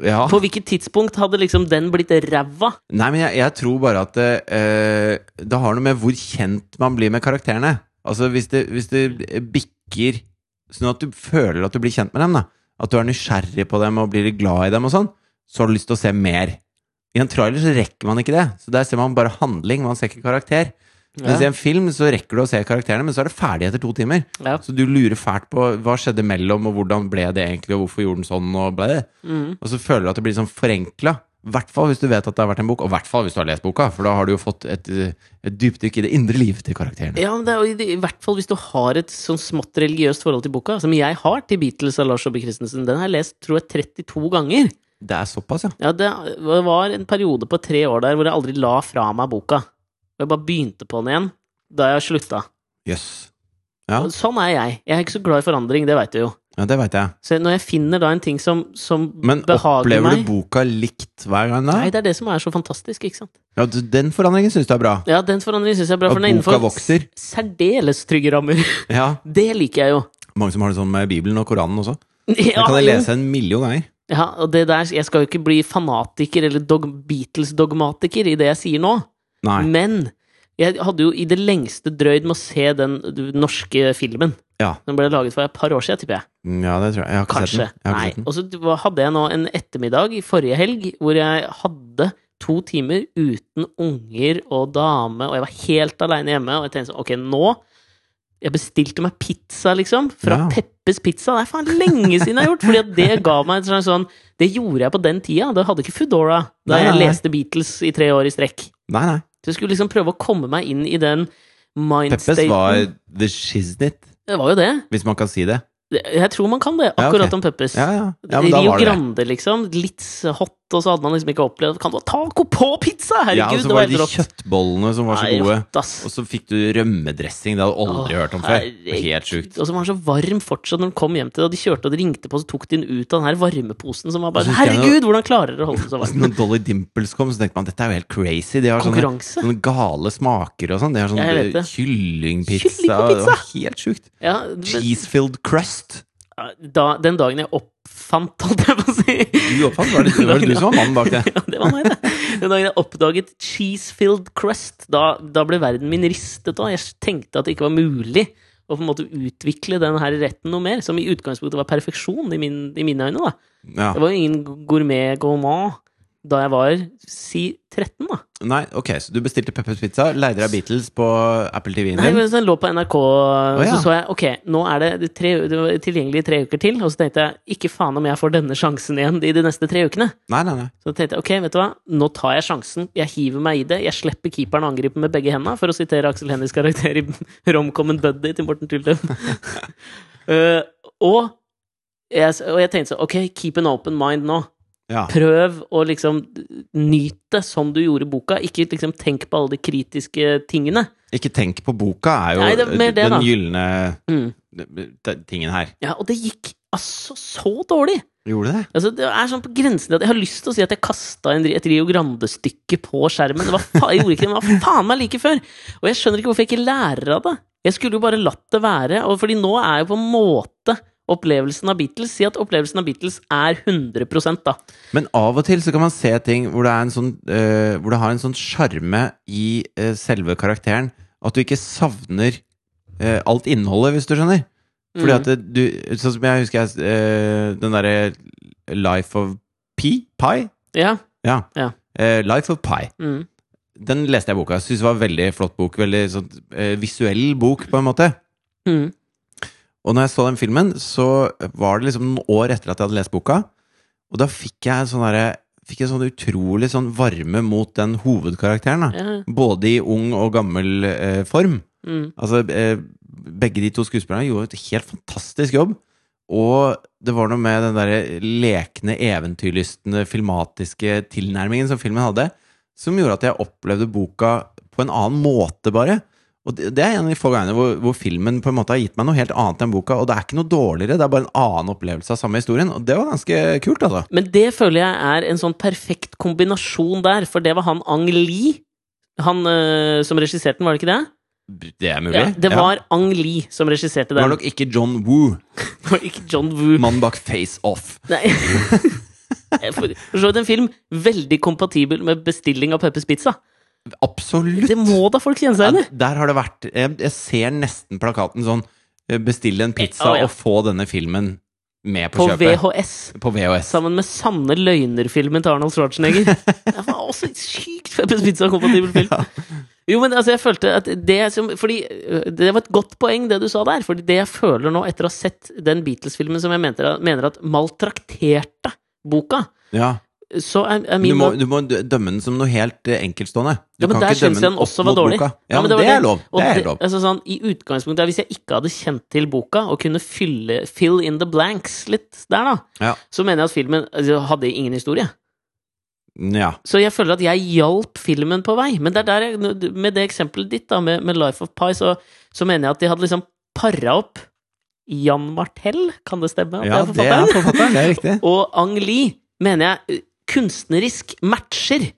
Speaker 2: ja.
Speaker 1: På hvilket tidspunkt hadde liksom den blitt ræva?
Speaker 2: Nei, men jeg, jeg tror bare at det, eh, det har noe med hvor kjent man blir med karakterene. Altså hvis det, hvis det bikker sånn at du føler at du blir kjent med dem, da. At du er nysgjerrig på dem og blir glad i dem og sånn, så har du lyst til å se mer. I en trailer så rekker man ikke det. Så der ser man bare handling, man ser ikke karakter. Mens i en film så rekker du å se karakterene, men så er det ferdig etter to timer.
Speaker 1: Ja.
Speaker 2: Så du lurer fælt på hva skjedde mellom, og hvordan ble det egentlig, og hvorfor gjorde den sånn, og ble det.
Speaker 1: Mm.
Speaker 2: Og så føler du at det blir sånn forenkla. I hvert fall hvis du vet at det har vært en bok, og i hvert fall hvis du har lest boka, for da har du jo fått et, eh, et dypdykk i det indre livet til karakterene.
Speaker 1: Ja, men det er, jo i- I hvert fall hvis du har et sånn smått religiøst forhold til boka, som jeg har til Beatles av Lars Jobbe Christensen. Den har jeg lest tror jeg 32 ganger.
Speaker 2: Det er såpass, ja.
Speaker 1: Ja, det var en periode på tre år der hvor jeg aldri la fra meg boka. Og jeg bare begynte på den igjen da jeg slutta.
Speaker 2: Jøss. Yes. Ja.
Speaker 1: Og Sånn er jeg. Jeg er ikke så glad i forandring, det veit du jo.
Speaker 2: ja, det veit jeg.
Speaker 1: Så når jeg finner da en ting som, som
Speaker 2: Men
Speaker 1: behager
Speaker 2: opplever
Speaker 1: meg
Speaker 2: du boka likt hver gang da?
Speaker 1: Nei, det er det som er så fantastisk, ikke sant?
Speaker 2: Ja, du- den forandringen syns du er bra.
Speaker 1: Ja, den forandringen syns jeg er bra,
Speaker 2: At
Speaker 1: for den er
Speaker 2: boka
Speaker 1: innenfor
Speaker 2: vokser.
Speaker 1: særdeles trygge rammer.
Speaker 2: Ja.
Speaker 1: Det liker jeg jo.
Speaker 2: Mange som har det sånn med Bibelen og Koranen også. Den
Speaker 1: Ja,
Speaker 2: kan jeg
Speaker 1: jo.
Speaker 2: lese en million ganger.
Speaker 1: ja, og det der Jeg skal jo ikke bli fanatiker eller dog, Beatles-dogmatiker i det jeg sier nå.
Speaker 2: Nei.
Speaker 1: Men jeg hadde jo i det lengste drøyd med å se den du, norske filmen.
Speaker 2: Ja.
Speaker 1: Den ble laget for et par år siden, tipper jeg.
Speaker 2: Mm, ja, det tror jeg. Jeg har ikke
Speaker 1: Kanskje.
Speaker 2: sett den. Jeg har
Speaker 1: Nei.
Speaker 2: ikke sett den.
Speaker 1: Og så var- hadde jeg nå en ettermiddag i forrige helg hvor jeg hadde to timer uten unger og dame, og jeg var helt aleine hjemme, og jeg tenkte sånn Ok, nå jeg bestilte meg pizza, liksom, fra
Speaker 2: Ja.
Speaker 1: Peppes Pizza. Det er faen lenge siden jeg har gjort! Fordi at det ga meg en slags sånn Det gjorde jeg på den tida. Da hadde ikke Foodora. Da
Speaker 2: Nei, nei,
Speaker 1: jeg
Speaker 2: nei.
Speaker 1: leste Beatles i tre år i strekk.
Speaker 2: Nei, nei.
Speaker 1: Så jeg skulle liksom prøve å komme meg inn i den
Speaker 2: Peppes var
Speaker 1: mindstaten.
Speaker 2: the shiznit,
Speaker 1: Det var jo det.
Speaker 2: hvis man kan si det.
Speaker 1: Jeg tror man kan det,
Speaker 2: Ja, ok.
Speaker 1: akkurat om Peppes.
Speaker 2: Ja, ja. ja men da
Speaker 1: Rio
Speaker 2: var det det.
Speaker 1: Grande, liksom. Litt hot, og så hadde man liksom ikke opplevd Kan du ha taco på pizza?! Herregud,
Speaker 2: Ja, og så
Speaker 1: det
Speaker 2: var
Speaker 1: var
Speaker 2: det
Speaker 1: helt
Speaker 2: de
Speaker 1: rått.
Speaker 2: kjøttbollene som var så
Speaker 1: Nei,
Speaker 2: gode.
Speaker 1: rått, ass.
Speaker 2: Og så fikk du rømmedressing. Det hadde du aldri
Speaker 1: Åh,
Speaker 2: hørt om før. Det var
Speaker 1: herregud.
Speaker 2: Helt sjukt.
Speaker 1: Og så var han så varm fortsatt når han kom hjem til deg, og de kjørte og de ringte på, og så tok de den ut av den her varmeposen som var bare
Speaker 2: Og så husker jeg når-
Speaker 1: Herregud, hvordan klarer dere å holde seg så varm?
Speaker 2: Og så Altså, når Dolly Dimples kom, så tenkte man dette er jo helt crazy. De har sånne,
Speaker 1: Konkurranse?
Speaker 2: sånne gale smaker og sånn. De har sånn
Speaker 1: Jeg vet
Speaker 2: eh,
Speaker 1: det.
Speaker 2: kyllingpizza.
Speaker 1: Kylling på
Speaker 2: og Det var
Speaker 1: pizza!
Speaker 2: helt sjukt.
Speaker 1: Ja, men,
Speaker 2: Cheese-filled crust.
Speaker 1: da, den dagen jeg oppfant, holdt jeg på å si
Speaker 2: Du oppfant, var det, var det du som var mannen bak det?
Speaker 1: Ja, det var meg, det. Den dagen jeg oppdaget cheese-filled crust, da, da ble verden min ristet òg. Jeg tenkte at det ikke var mulig å på en måte utvikle den her retten noe mer, som i utgangspunktet var perfeksjon i, min, i mine øyne. da.
Speaker 2: Ja.
Speaker 1: Det var jo ingen gourmet gourmand da jeg var si 13, da.
Speaker 2: Nei, ok, så du bestilte Peppers Pizza, leide deg Beatles på Apple TV-en
Speaker 1: Nei,
Speaker 2: din.
Speaker 1: men Den lå på NRK,
Speaker 2: ja.
Speaker 1: så så jeg ok, nå er det, tre, det var tilgjengelig i tre uker til. Og så tenkte jeg ikke faen om jeg får denne sjansen igjen i de neste tre ukene.
Speaker 2: Nei, nei, nei.
Speaker 1: Så tenkte jeg ok, vet du hva, nå tar jeg sjansen. Jeg hiver meg i det. Jeg slipper keeperen å angripe med begge hendene, for å sitere Aksel Hennies karakter i Romcomen Buddy til Morten Tyldum. Eh, og, jeg, s- og jeg tenkte sånn, ok, keep an open mind nå.
Speaker 2: Ja.
Speaker 1: Prøv å liksom nyte det som du gjorde boka. Ikke liksom tenk på alle de kritiske tingene.
Speaker 2: Ikke tenk på boka, er jo
Speaker 1: Nei, det er mer det, da.
Speaker 2: den gylne
Speaker 1: Mm.
Speaker 2: t- tingen her.
Speaker 1: Ja, og det gikk altså så dårlig.
Speaker 2: Gjorde det?
Speaker 1: Altså, det er sånn på grensen til at jeg har lyst til å si at jeg kasta et Rio Grande-stykke på skjermen. Det var fa jeg gjorde ikke det, men det var faen meg like før! Og jeg skjønner ikke hvorfor jeg ikke lærer av det. Jeg skulle jo bare latt det være. Og fordi nå er jo på en måte opplevelsen av Beatles Si at opplevelsen av Beatles er 100 da.
Speaker 2: Men av og til så kan man se ting hvor det, er en sånn, eh, hvor det har en sånn sjarme i eh, selve karakteren at du ikke savner eh, alt innholdet, hvis du skjønner. Fordi at det- du Sånn som jeg husker jeg, eh, den derre Life of Pi? Pi?
Speaker 1: Ja.
Speaker 2: Ja.
Speaker 1: Ja.
Speaker 2: Eh, Life of Pi.
Speaker 1: Mm.
Speaker 2: Den leste jeg boka. Syns det var en veldig flott bok. Veldig sånn eh, visuell bok, på en måte.
Speaker 1: Mm.
Speaker 2: Og når jeg så den filmen, så var det liksom noen år etter at jeg hadde lest boka. Og da fikk jeg sånn derre Fikk jeg sånn utrolig sånn varme mot den hovedkarakteren. da
Speaker 1: Ja.
Speaker 2: Både i ung og gammel eh, form.
Speaker 1: Mm.
Speaker 2: Altså, eh, begge de to skuespillerne gjorde et helt fantastisk jobb. Og det var noe med den der lekne, eventyrlystne, filmatiske tilnærmingen som filmen hadde, som gjorde at jeg opplevde boka på en annen måte, bare. Og det, det er en av de få gangene hvor, hvor filmen på en måte har gitt meg noe helt annet enn boka, og det er ikke noe dårligere, det er bare en annen opplevelse av samme historien, og det var ganske kult, altså.
Speaker 1: Men det føler jeg er en sånn perfekt kombinasjon der, for det var han Ang Lee. Han øh, som regisserte den, var det ikke det?
Speaker 2: Det er mulig.
Speaker 1: Ja, det var Ang Lee som regisserte
Speaker 2: Det var
Speaker 1: den.
Speaker 2: nok ikke John Woo,
Speaker 1: Det var ikke John Woo.
Speaker 2: mannen bak Face Off.
Speaker 1: Nei. For for så vidt en film veldig kompatibel med bestilling av Peppers Pizza.
Speaker 2: Absolutt!
Speaker 1: Det må da folk kjenne seg igjen i!
Speaker 2: Ja, der har det vært jeg, jeg ser nesten plakaten sånn eh, Bestille en pizza
Speaker 1: Ja, ja.
Speaker 2: og få denne filmen med
Speaker 1: På
Speaker 2: på, kjøpet.
Speaker 1: VHS.
Speaker 2: På VHS.
Speaker 1: Sammen med sanne løgner-filmen til Arnold Schwarzenegger. Det var også en sykt Peppers Pizza-kompatibel film. Jo, men altså, jeg følte at det som Fordi øh, det var et godt poeng, det du sa der. Fordi det jeg føler nå, etter å ha sett den Beatles-filmen som jeg mener, mener at maltrakterte boka,
Speaker 2: Ja.
Speaker 1: så er, er
Speaker 2: Du,
Speaker 1: min
Speaker 2: må, du må dø- dømme den som noe helt eh, enkeltstående. Du
Speaker 1: Ja, men der syns jeg den også var dårlig.
Speaker 2: boka.
Speaker 1: Ja,
Speaker 2: Ja,
Speaker 1: men
Speaker 2: men
Speaker 1: det
Speaker 2: det,
Speaker 1: var
Speaker 2: er
Speaker 1: det.
Speaker 2: lov.
Speaker 1: Og
Speaker 2: Det er
Speaker 1: det-
Speaker 2: helt lov.
Speaker 1: altså sånn, I utgangspunktet, hvis jeg ikke hadde kjent til boka, og kunne fylle fill in the blanks litt der, da,
Speaker 2: Ja.
Speaker 1: så mener jeg at filmen altså, hadde ingen historie.
Speaker 2: ja.
Speaker 1: Så jeg føler at jeg hjalp filmen på vei. Men det er der jeg, med det eksempelet ditt, da, med, med Life of Pi, så, så mener jeg at de hadde liksom para opp Jan Martell, kan det stemme? at
Speaker 2: ja,
Speaker 1: jeg
Speaker 2: det
Speaker 1: forfatteren?
Speaker 2: er forfatteren. Det er riktig.
Speaker 1: Og Ang Lee mener jeg eh, kunstnerisk matcher.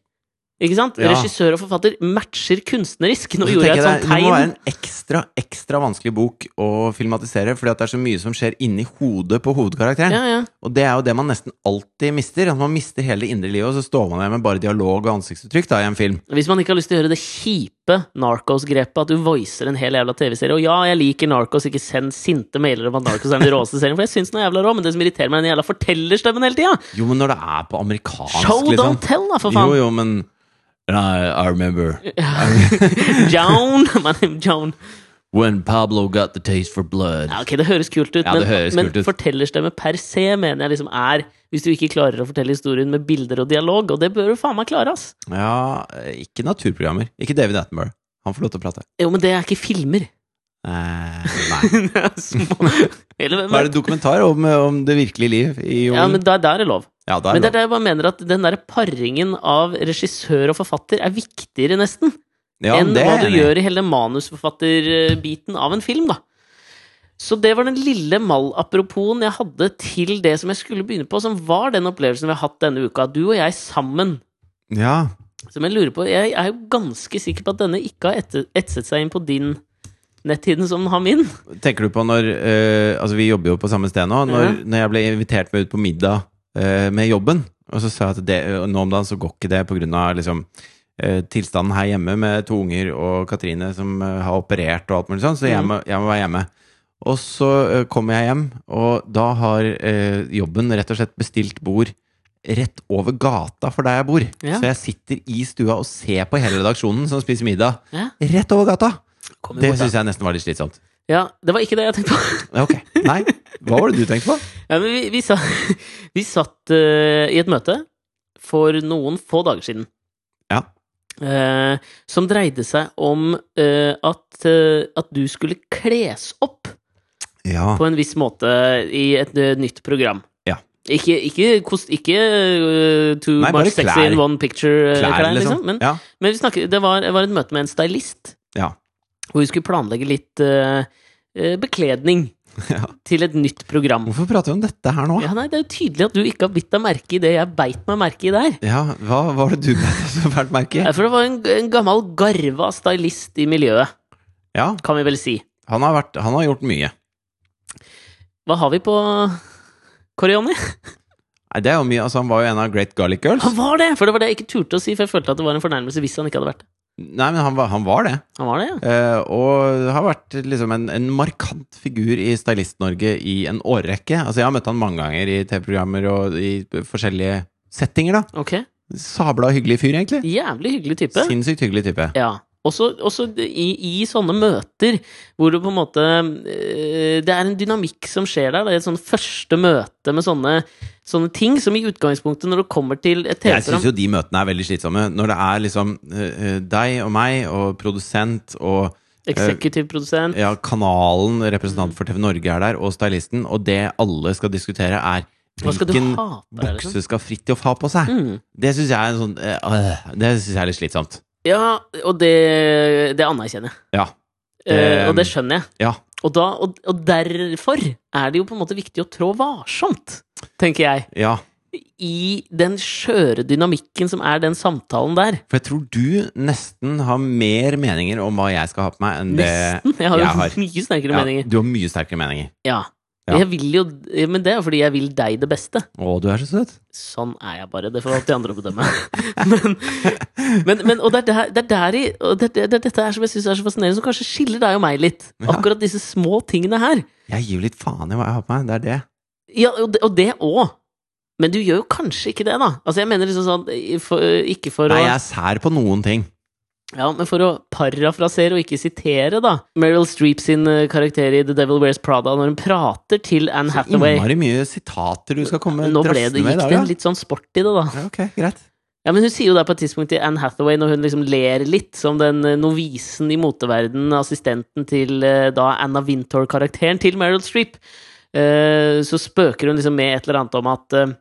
Speaker 1: Ikke sant?
Speaker 2: Ja.
Speaker 1: Regissør og forfatter matcher kunstnerisk. Nå
Speaker 2: Og så
Speaker 1: gjorde jeg
Speaker 2: tenker
Speaker 1: et sånt
Speaker 2: det, det må være
Speaker 1: tegn.
Speaker 2: en ekstra, ekstra vanskelig bok å filmatisere, fordi at det er så mye som skjer inni hodet på hovedkarakteren.
Speaker 1: Ja, ja.
Speaker 2: Og det er jo det man nesten alltid mister. At man mister hele det indre livet, og så står man der med bare dialog og ansiktsuttrykk da, i en film.
Speaker 1: Hvis man ikke har lyst til å gjøre det kjipe Narcos-grepet, at du voicer en hel jævla TV-serie Og ja, jeg liker Narcos, ikke send sinte mailer om at Narcos er den råeste serien, for jeg syns den er jævla rå, men det som irriterer meg, er den jævla fortellerstemmen hele tida!
Speaker 2: Jo, men når det er på amerikansk,
Speaker 1: Show
Speaker 2: liksom.
Speaker 1: don't tell, da, for
Speaker 2: Jo,
Speaker 1: faen!
Speaker 2: jo, men I, I remember
Speaker 1: Joan! My name is Joan.
Speaker 2: when Pablo got the taste for blood.
Speaker 1: Ja, ok, det høres kult ut,
Speaker 2: Ja, det høres
Speaker 1: men,
Speaker 2: kult ut.
Speaker 1: men fortellerstemme per se mener jeg liksom er Hvis du ikke klarer å fortelle historien med bilder og dialog, og det bør du faen meg klare, ass!
Speaker 2: Ja, ikke naturprogrammer. Ikke David Attenborough. Han får lov til å prate.
Speaker 1: Jo, men det er ikke filmer.
Speaker 2: Eh, nei.
Speaker 1: Det er små Eller,
Speaker 2: Hva er det dokumentar om, om det virkelige liv i
Speaker 1: ja,
Speaker 2: jorden?
Speaker 1: men der, der er lov.
Speaker 2: Ja, det er
Speaker 1: Men det er
Speaker 2: lov.
Speaker 1: der jeg bare mener at den der paringen av regissør og forfatter er viktigere nesten
Speaker 2: Ja,
Speaker 1: enn
Speaker 2: det er
Speaker 1: hva du
Speaker 2: jeg enig i.
Speaker 1: gjør i hele manusforfatterbiten av en film, da. Så det var den lille mal-apropoen jeg hadde til det som jeg skulle begynne på, som var den opplevelsen vi har hatt denne uka. Du og jeg sammen.
Speaker 2: Ja.
Speaker 1: Som jeg lurer på Jeg er jo ganske sikker på at denne ikke har etter- etset seg inn på din netthinnen som den har min.
Speaker 2: Tenker du på når eh, Altså, vi jobber jo på samme sted nå. Når, når jeg ble invitert med ut på middag eh, med jobben, og så sa jeg at det, nå om dagen så går ikke det på grunn av liksom eh, tilstanden her hjemme med to unger og Katrine som eh, har operert og alt mulig sånn, så jeg
Speaker 1: Mhm.
Speaker 2: må, jeg må være hjemme. Og så eh, kommer jeg hjem, og da har eh, jobben rett og slett bestilt bord rett over gata for der jeg bor.
Speaker 1: Ja.
Speaker 2: Så jeg sitter i stua og ser på hele redaksjonen som spiser middag.
Speaker 1: Ja.
Speaker 2: Rett over gata!
Speaker 1: Kom
Speaker 2: Det
Speaker 1: bort, da.
Speaker 2: syns jeg nesten var litt slitsomt.
Speaker 1: Ja, det var ikke det jeg tenkte på.
Speaker 2: Ja, Ok, nei Hva var det du tenkte på?
Speaker 1: Ja, men vi, vi, sa, vi satt eh, i et møte for noen få dager siden.
Speaker 2: Ja.
Speaker 1: Eh, som dreide seg om eh, at, eh, at du skulle kles opp
Speaker 2: Ja,
Speaker 1: på en viss måte i et eh, nytt program.
Speaker 2: Ja.
Speaker 1: Ikke, ikke, kost, ikke eh, too
Speaker 2: Nei, bare
Speaker 1: much sexy
Speaker 2: klær.
Speaker 1: in one picture-klær,
Speaker 2: klær
Speaker 1: liksom.
Speaker 2: liksom
Speaker 1: Men,
Speaker 2: ja.
Speaker 1: men vi snakker, det var, det var et møte med en stylist,
Speaker 2: Ja.
Speaker 1: hvor vi skulle planlegge litt eh, eh, bekledning
Speaker 2: Ja.
Speaker 1: til et nytt program.
Speaker 2: Hvorfor prater vi om dette her nå?
Speaker 1: Ja, nei, Det er jo tydelig at du ikke har bitt deg merke i det jeg beit meg merke i der.
Speaker 2: Ja, hva var det du som vært merke
Speaker 1: Eh,
Speaker 2: i?
Speaker 1: For det var en, en gammel garva stylist i miljøet,
Speaker 2: Ja,
Speaker 1: kan vi vel si.
Speaker 2: han har, vært, han har gjort mye
Speaker 1: Hva har vi på Korioni?
Speaker 2: Nei, det er jo mye Altså, han var jo en av Great Garlic Girls
Speaker 1: Han var det! For det var det jeg ikke turte å si, for jeg følte at det var en fornærmelse hvis han ikke hadde vært det.
Speaker 2: Nei, men han var, han var det
Speaker 1: Han var det, ja.
Speaker 2: eh, Og har vært liksom en, en markant figur i Stylist-Norge i en årrekke Altså, jeg har møtt han mange ganger i TV-programmer og i forskjellige settinger da
Speaker 1: Ok.
Speaker 2: Sabla hyggelig fyr, egentlig
Speaker 1: Jævlig hyggelig type.
Speaker 2: Sinnssykt hyggelig type
Speaker 1: Ja. Også, også i, i sånne møter hvor du på en måte eh, Det er en dynamikk som skjer der. Det er et sånn første møte med sånne, sånne ting som i utgangspunktet, når du kommer til et
Speaker 2: Jeg syns
Speaker 1: TV-program
Speaker 2: jo de møtene er veldig slitsomme. Når det er liksom eh, eh, deg og meg og produsent og
Speaker 1: Eksekutiv produsent
Speaker 2: ja, kanalen, representant for TV Norge er der, og stylisten, og det alle skal diskutere, er
Speaker 1: Hva skal du
Speaker 2: hvilken
Speaker 1: ha på deg, liksom?
Speaker 2: bukse skal Fridtjof ha på seg?
Speaker 1: Mm.
Speaker 2: Det syns jeg er en sånn eh, øh, Det syns jeg er litt slitsomt.
Speaker 1: Ja, og det, det anerkjenner jeg.
Speaker 2: Ja.
Speaker 1: Eh,
Speaker 2: Det-
Speaker 1: og det skjønner jeg.
Speaker 2: Ja.
Speaker 1: Og, da, og, og derfor er det jo på en måte viktig å trå varsomt, tenker jeg,
Speaker 2: ja.
Speaker 1: i den skjøre dynamikken som er den samtalen der.
Speaker 2: For jeg tror du nesten har mer meninger om hva jeg skal ha på meg, enn det
Speaker 1: Nesten. Jeg har jo
Speaker 2: jeg har.
Speaker 1: mye sterkere
Speaker 2: Ja,
Speaker 1: meninger.
Speaker 2: du har mye sterkere meninger.
Speaker 1: Ja.
Speaker 2: Ja.
Speaker 1: Jeg vil jo, men det er jo fordi jeg vil deg det beste.
Speaker 2: Å, du er så søt.
Speaker 1: Sånn er jeg bare. Det får alltid andre å bedømme. men, men, men, og det er, der, det er der i, og det, det, det, er dette her som jeg syns er så fascinerende, som kanskje skiller deg og meg litt.
Speaker 2: Ja.
Speaker 1: Akkurat disse små tingene her.
Speaker 2: Jeg gir jo litt faen i hva jeg har på meg. Det er det.
Speaker 1: Ja, og det- og det òg. Men du gjør jo kanskje ikke det, da. Altså, jeg mener liksom sånn i- for, Ikke for
Speaker 2: Nei, jeg
Speaker 1: å
Speaker 2: er sær på noen ting.
Speaker 1: Ja, men for å parafrasere og ikke sitere, da. Meryl Streep sin eh, karakter i The Devil Wears Prada, når hun prater til Anne Hathaway
Speaker 2: Innmari mye sitater du skal komme
Speaker 1: Nå ble det,
Speaker 2: drassende med i
Speaker 1: gikk
Speaker 2: dag,
Speaker 1: det
Speaker 2: ja.
Speaker 1: litt sånn sport i det, da.
Speaker 2: ja. Ok, greit.
Speaker 1: Ja, men Hun sier jo der på et tidspunkt til Anne Hathaway, når hun liksom ler litt, som den eh, novisen i moteverden, assistenten til eh, da Anna Wintour-karakteren til Meryl Streep, eh, så spøker hun liksom med et eller annet om at eh,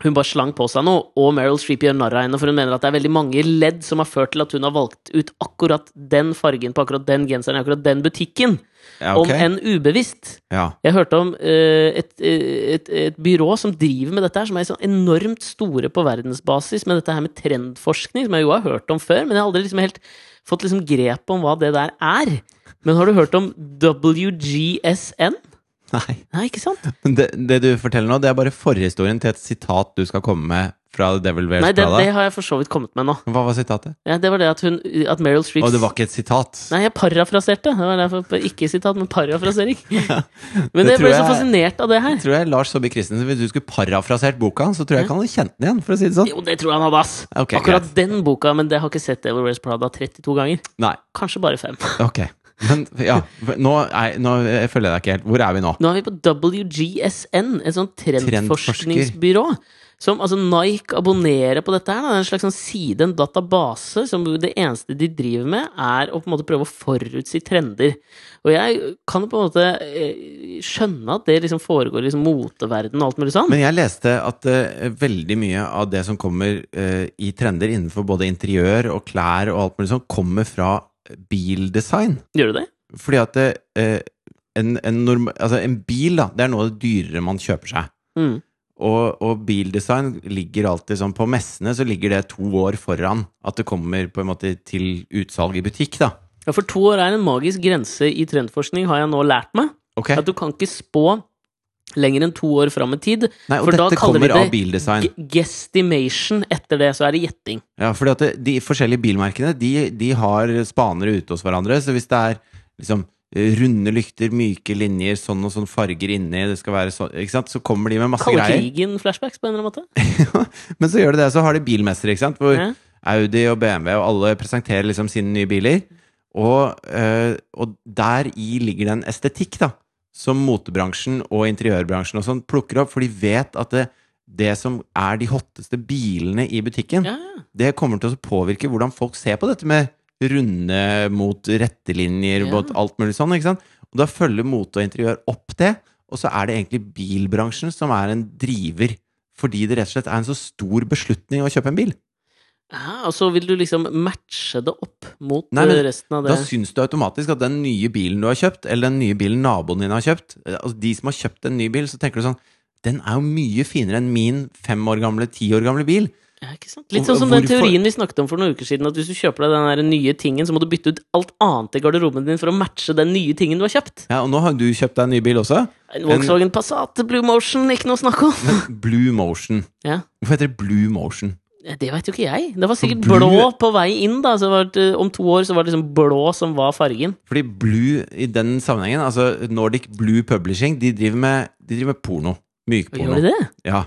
Speaker 1: hun bare slang på seg noe, og Meryl Streep gjør narr av henne, for hun mener at det er veldig mange ledd som har ført til at hun har valgt ut akkurat den fargen på akkurat den genseren i akkurat den butikken,
Speaker 2: Ja, ok.
Speaker 1: om enn ubevisst.
Speaker 2: ja.
Speaker 1: Jeg hørte om eh, et, eh, et, et byrå som driver med dette her, som er sånn enormt store på verdensbasis med dette her med trendforskning, som jeg jo har hørt om før, men jeg har aldri liksom helt fått liksom grep om hva det der er. Men har du hørt om WGSN?
Speaker 2: Nei.
Speaker 1: Nei, ikke sant?
Speaker 2: Men Det, det du forteller nå, det er bare forhistorien til et sitat du skal komme med fra The Devil Wears
Speaker 1: Nei, det, det
Speaker 2: Prada.
Speaker 1: har jeg for så vidt kommet med nå.
Speaker 2: Hva var sitatet?
Speaker 1: Ja, det var det at hun At Meryl Streep
Speaker 2: Og det var ikke et sitat.
Speaker 1: Nei, jeg parafraserte. Det var derfor ikke sitat, men parafrasering. Men
Speaker 2: det
Speaker 1: jeg ble
Speaker 2: tror
Speaker 1: så
Speaker 2: jeg-
Speaker 1: fascinert av det her.
Speaker 2: Tror jeg Lars Saabye Christensen, Hvis du skulle parafrasert boka hans, så tror jeg ikke han hadde kjent den igjen. for å si det sånn
Speaker 1: Jo, det tror jeg han hadde, ass.
Speaker 2: Ok,
Speaker 1: Akkurat den boka, men det har ikke sett Devil Wears Prada 32 ganger.
Speaker 2: Nei,
Speaker 1: Kanskje bare fem.
Speaker 2: ok Men ja, nå, nei, nå eh, følger jeg deg ikke helt. Hvor er vi nå?
Speaker 1: Nå er vi på WGSN, et sånt trendforskningsbyrå. Som, altså Nike abonnerer på dette her. da. Det er en slags sånn side, en database, som det eneste de driver med, er å på en måte prøve å forutsi trender. Og jeg kan jo på en måte eh, skjønne at det liksom foregår i liksom moteverdenen og alt mulig sånn.
Speaker 2: Men jeg leste at eh, veldig mye av det som kommer eh, i trender innenfor både interiør og klær og alt mulig sånt, kommer fra bildesign.
Speaker 1: Gjør du det?
Speaker 2: Fordi at eh, en, en, norm, altså en bil, da, det er noe av det dyrere man kjøper seg.
Speaker 1: Mm.
Speaker 2: Og, og bildesign ligger alltid sånn På messene så ligger det to år foran at det kommer på en måte til utsalg i butikk, da.
Speaker 1: Ja, for to år er en magisk grense i trendforskning, har jeg nå lært meg.
Speaker 2: Ok?
Speaker 1: At du kan ikke spå lenger enn to år fram i tid.
Speaker 2: Nei, og
Speaker 1: for da
Speaker 2: dette
Speaker 1: kaller de
Speaker 2: kommer av
Speaker 1: det
Speaker 2: bildesign.
Speaker 1: G- Guestimation etter det, så er det gjetting.
Speaker 2: Ja, fordi at det, de forskjellige bilmerkene de, de har spanere ute hos hverandre, så hvis det er liksom eh, runde lykter, myke linjer, sånn og sånn farger inni, det skal være sånn, ikke sant, så kommer de med masse
Speaker 1: Kaller
Speaker 2: greier.
Speaker 1: krigen flashbacks på en eller annen måte?
Speaker 2: Men så gjør de det, så har de bilmestere, ikke sant, hvor
Speaker 1: Ja.
Speaker 2: Audi og BMW og alle presenterer liksom sine nye biler. Og, eh, og der i ligger det en estetikk, da, som motebransjen og interiørbransjen og sånn plukker opp, for de vet at det, det som er de hotteste bilene i butikken,
Speaker 1: Ja, ja.
Speaker 2: det kommer til å påvirke hvordan folk ser på dette med runde mot rette linjer,
Speaker 1: Ja.
Speaker 2: mot alt mulig sånn. ikke sant? Og da følger mote og interiør opp det, og så er det egentlig bilbransjen som er en driver. Fordi det rett og slett er en så stor beslutning å kjøpe en bil.
Speaker 1: ja, og så vil du liksom matche det opp mot
Speaker 2: Nei, men
Speaker 1: eh, resten av det.
Speaker 2: Da syns du automatisk at den nye bilen du har kjøpt, eller den nye bilen naboen din har kjøpt eh, Altså de som har kjøpt en ny bil, så tenker du sånn Den er jo mye finere enn min fem år gamle, ti år gamle bil.
Speaker 1: Ja, ikke sant? Litt
Speaker 2: Og-
Speaker 1: sånn som
Speaker 2: og
Speaker 1: den
Speaker 2: hvorfor-
Speaker 1: teorien vi snakket om for noen uker siden, at hvis du kjøper deg den der nye tingen, så må du bytte ut alt annet i garderoben din for å matche den nye tingen du har kjøpt.
Speaker 2: Ja, Og nå har du kjøpt deg en ny bil også.
Speaker 1: En Volkswagen Passat, Blue Motion, ikke noe å snakke om.
Speaker 2: Blue Motion.
Speaker 1: Ja.
Speaker 2: Hvorfor heter det Blue Motion?
Speaker 1: Eh, Det veit jo ikke jeg. Det var sikkert
Speaker 2: blue-
Speaker 1: blå på vei inn, da. Så det var, det- om to år så var det liksom blå som var fargen.
Speaker 2: Fordi Blue i den sammenhengen, altså Nordic Blue Publishing, de driver med, de driver med porno.
Speaker 1: Gjorde de
Speaker 2: Mykporno.
Speaker 1: det?
Speaker 2: Ja.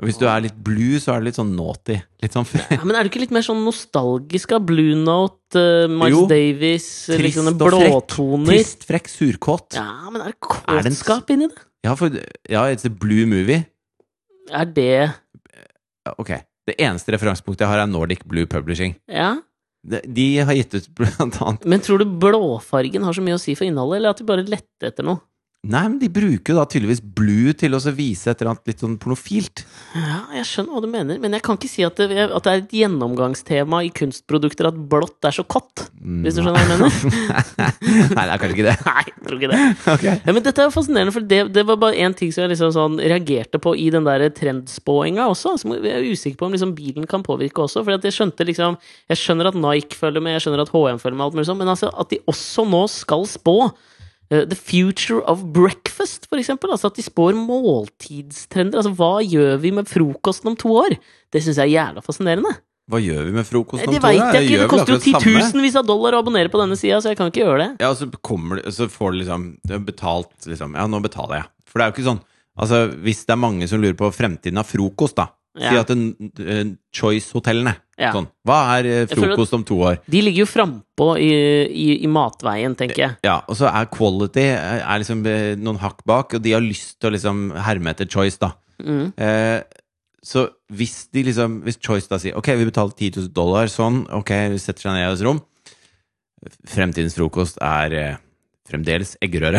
Speaker 2: Og hvis du er litt blue, så er det litt sånn naughty. Litt sånn
Speaker 1: Ja, men er du ikke litt mer sånn nostalgisk av Blue Note, eh, Miles
Speaker 2: Jo.
Speaker 1: Davis, eh,
Speaker 2: Trist
Speaker 1: liksom den
Speaker 2: og frekk.
Speaker 1: blåtoner
Speaker 2: trist, frekk, surkåt. Ja.
Speaker 1: Ja, men er det
Speaker 2: Er det en-
Speaker 1: kåtskap inni det?
Speaker 2: for Ja, it's a blue movie.
Speaker 1: Er det
Speaker 2: Ja, Ok. Det eneste referansepunktet jeg har, er Nordic Blue Publishing.
Speaker 1: Ja.
Speaker 2: De, de har gitt ut blant annet
Speaker 1: Men tror du blåfargen har så mye å si for innholdet, eller at de bare lette etter noe?
Speaker 2: Nei, men de bruker jo da tydeligvis blue til å så vise et eller annet litt sånn pornofilt.
Speaker 1: Ja, jeg skjønner hva du mener, men jeg kan ikke si at det, at det er et gjennomgangstema i kunstprodukter at blått er så kått, hvis du skjønner hva jeg mener?
Speaker 2: Nei, det er kanskje ikke det.
Speaker 1: Mm. Nei, jeg tror ikke det.
Speaker 2: Ok.
Speaker 1: Ja, men dette er jo fascinerende, for det, det var bare én ting som jeg liksom sånn reagerte på i den der trendspåinga også. Som jeg er usikker på om liksom bilen kan påvirke også. For jeg skjønte liksom Jeg skjønner at Nike følger med, jeg skjønner at HM følger med, alt mulig sånn, men altså at de også nå skal spå eh, The future of breakfast, for eksempel. Altså at de spår måltidstrender. Altså hva gjør vi med frokosten om to år? Det syns jeg er jævla fascinerende.
Speaker 2: Hva gjør vi med frokost om
Speaker 1: Det
Speaker 2: to år?
Speaker 1: veit
Speaker 2: da?
Speaker 1: jeg ikke.
Speaker 2: Gjør
Speaker 1: Det
Speaker 2: vel
Speaker 1: koster jo
Speaker 2: akkurat samme?
Speaker 1: titusenvis av dollar å abonnere på denne sida, så jeg kan ikke gjøre det.
Speaker 2: Ja, og så kommer det, så får du liksom du har betalt liksom Ja, nå betaler jeg. For det er jo ikke sånn Altså, hvis det er mange som lurer på fremtiden av frokost, da. Si
Speaker 1: Ja.
Speaker 2: at en, en Choice-hotellene.
Speaker 1: Ja.
Speaker 2: Sånn. Hva er eh,
Speaker 1: føler at-
Speaker 2: frokost om to år?
Speaker 1: De ligger jo frampå i, i, i matveien, tenker jeg.
Speaker 2: Ja, og så er quality eh, er liksom eh, noen hakk bak, og de har lyst til å liksom herme etter Choice, da.
Speaker 1: Mm.
Speaker 2: Eh, så hvis de liksom Hvis Choice da sier Ok, vi betaler 10 000 dollar, sånn, ok, vi setter seg ned i et rom Fremtidens frokost er eh, fremdeles eggerøre.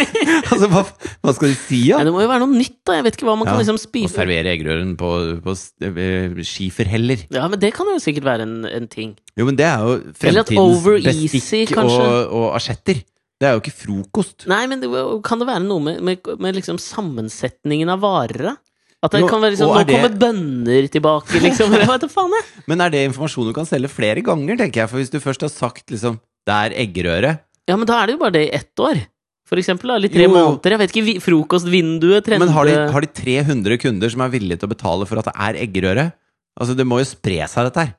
Speaker 2: altså, hva, hva skal de si, da?
Speaker 1: Nei, det må jo være noe nytt, da. Jeg vet ikke hva man kan
Speaker 2: Ja,
Speaker 1: liksom
Speaker 2: Å
Speaker 1: spise
Speaker 2: servere eggerøren på, på s- eh, skiferheller.
Speaker 1: Ja, men det kan jo sikkert være en, en ting.
Speaker 2: Jo, men det er jo
Speaker 1: Eller at
Speaker 2: fremtidens
Speaker 1: over easy,
Speaker 2: bestikk og,
Speaker 1: kanskje.
Speaker 2: og asjetter. Det er jo ikke frokost.
Speaker 1: Nei, men det, kan det være noe med, med, med liksom sammensetningen av varer, da? At det
Speaker 2: Jo,
Speaker 1: kan være liksom,
Speaker 2: og
Speaker 1: Nå
Speaker 2: er det-
Speaker 1: kommer bønner tilbake, liksom. Eller hva vet du faen, jeg.
Speaker 2: Men er det informasjon du kan selge flere ganger, tenker jeg. For hvis du først har sagt liksom det er eggerøre,
Speaker 1: Ja, men da er det jo bare det i ett år. For eksempel, da, eller tre
Speaker 2: Jo, jo.
Speaker 1: måneder. Jeg vet ikke, vi- frokostvinduet trende.
Speaker 2: Men har de, har de 300 kunder som er villige til å betale for at det er eggerøre? Altså, det må jo spre seg, dette her.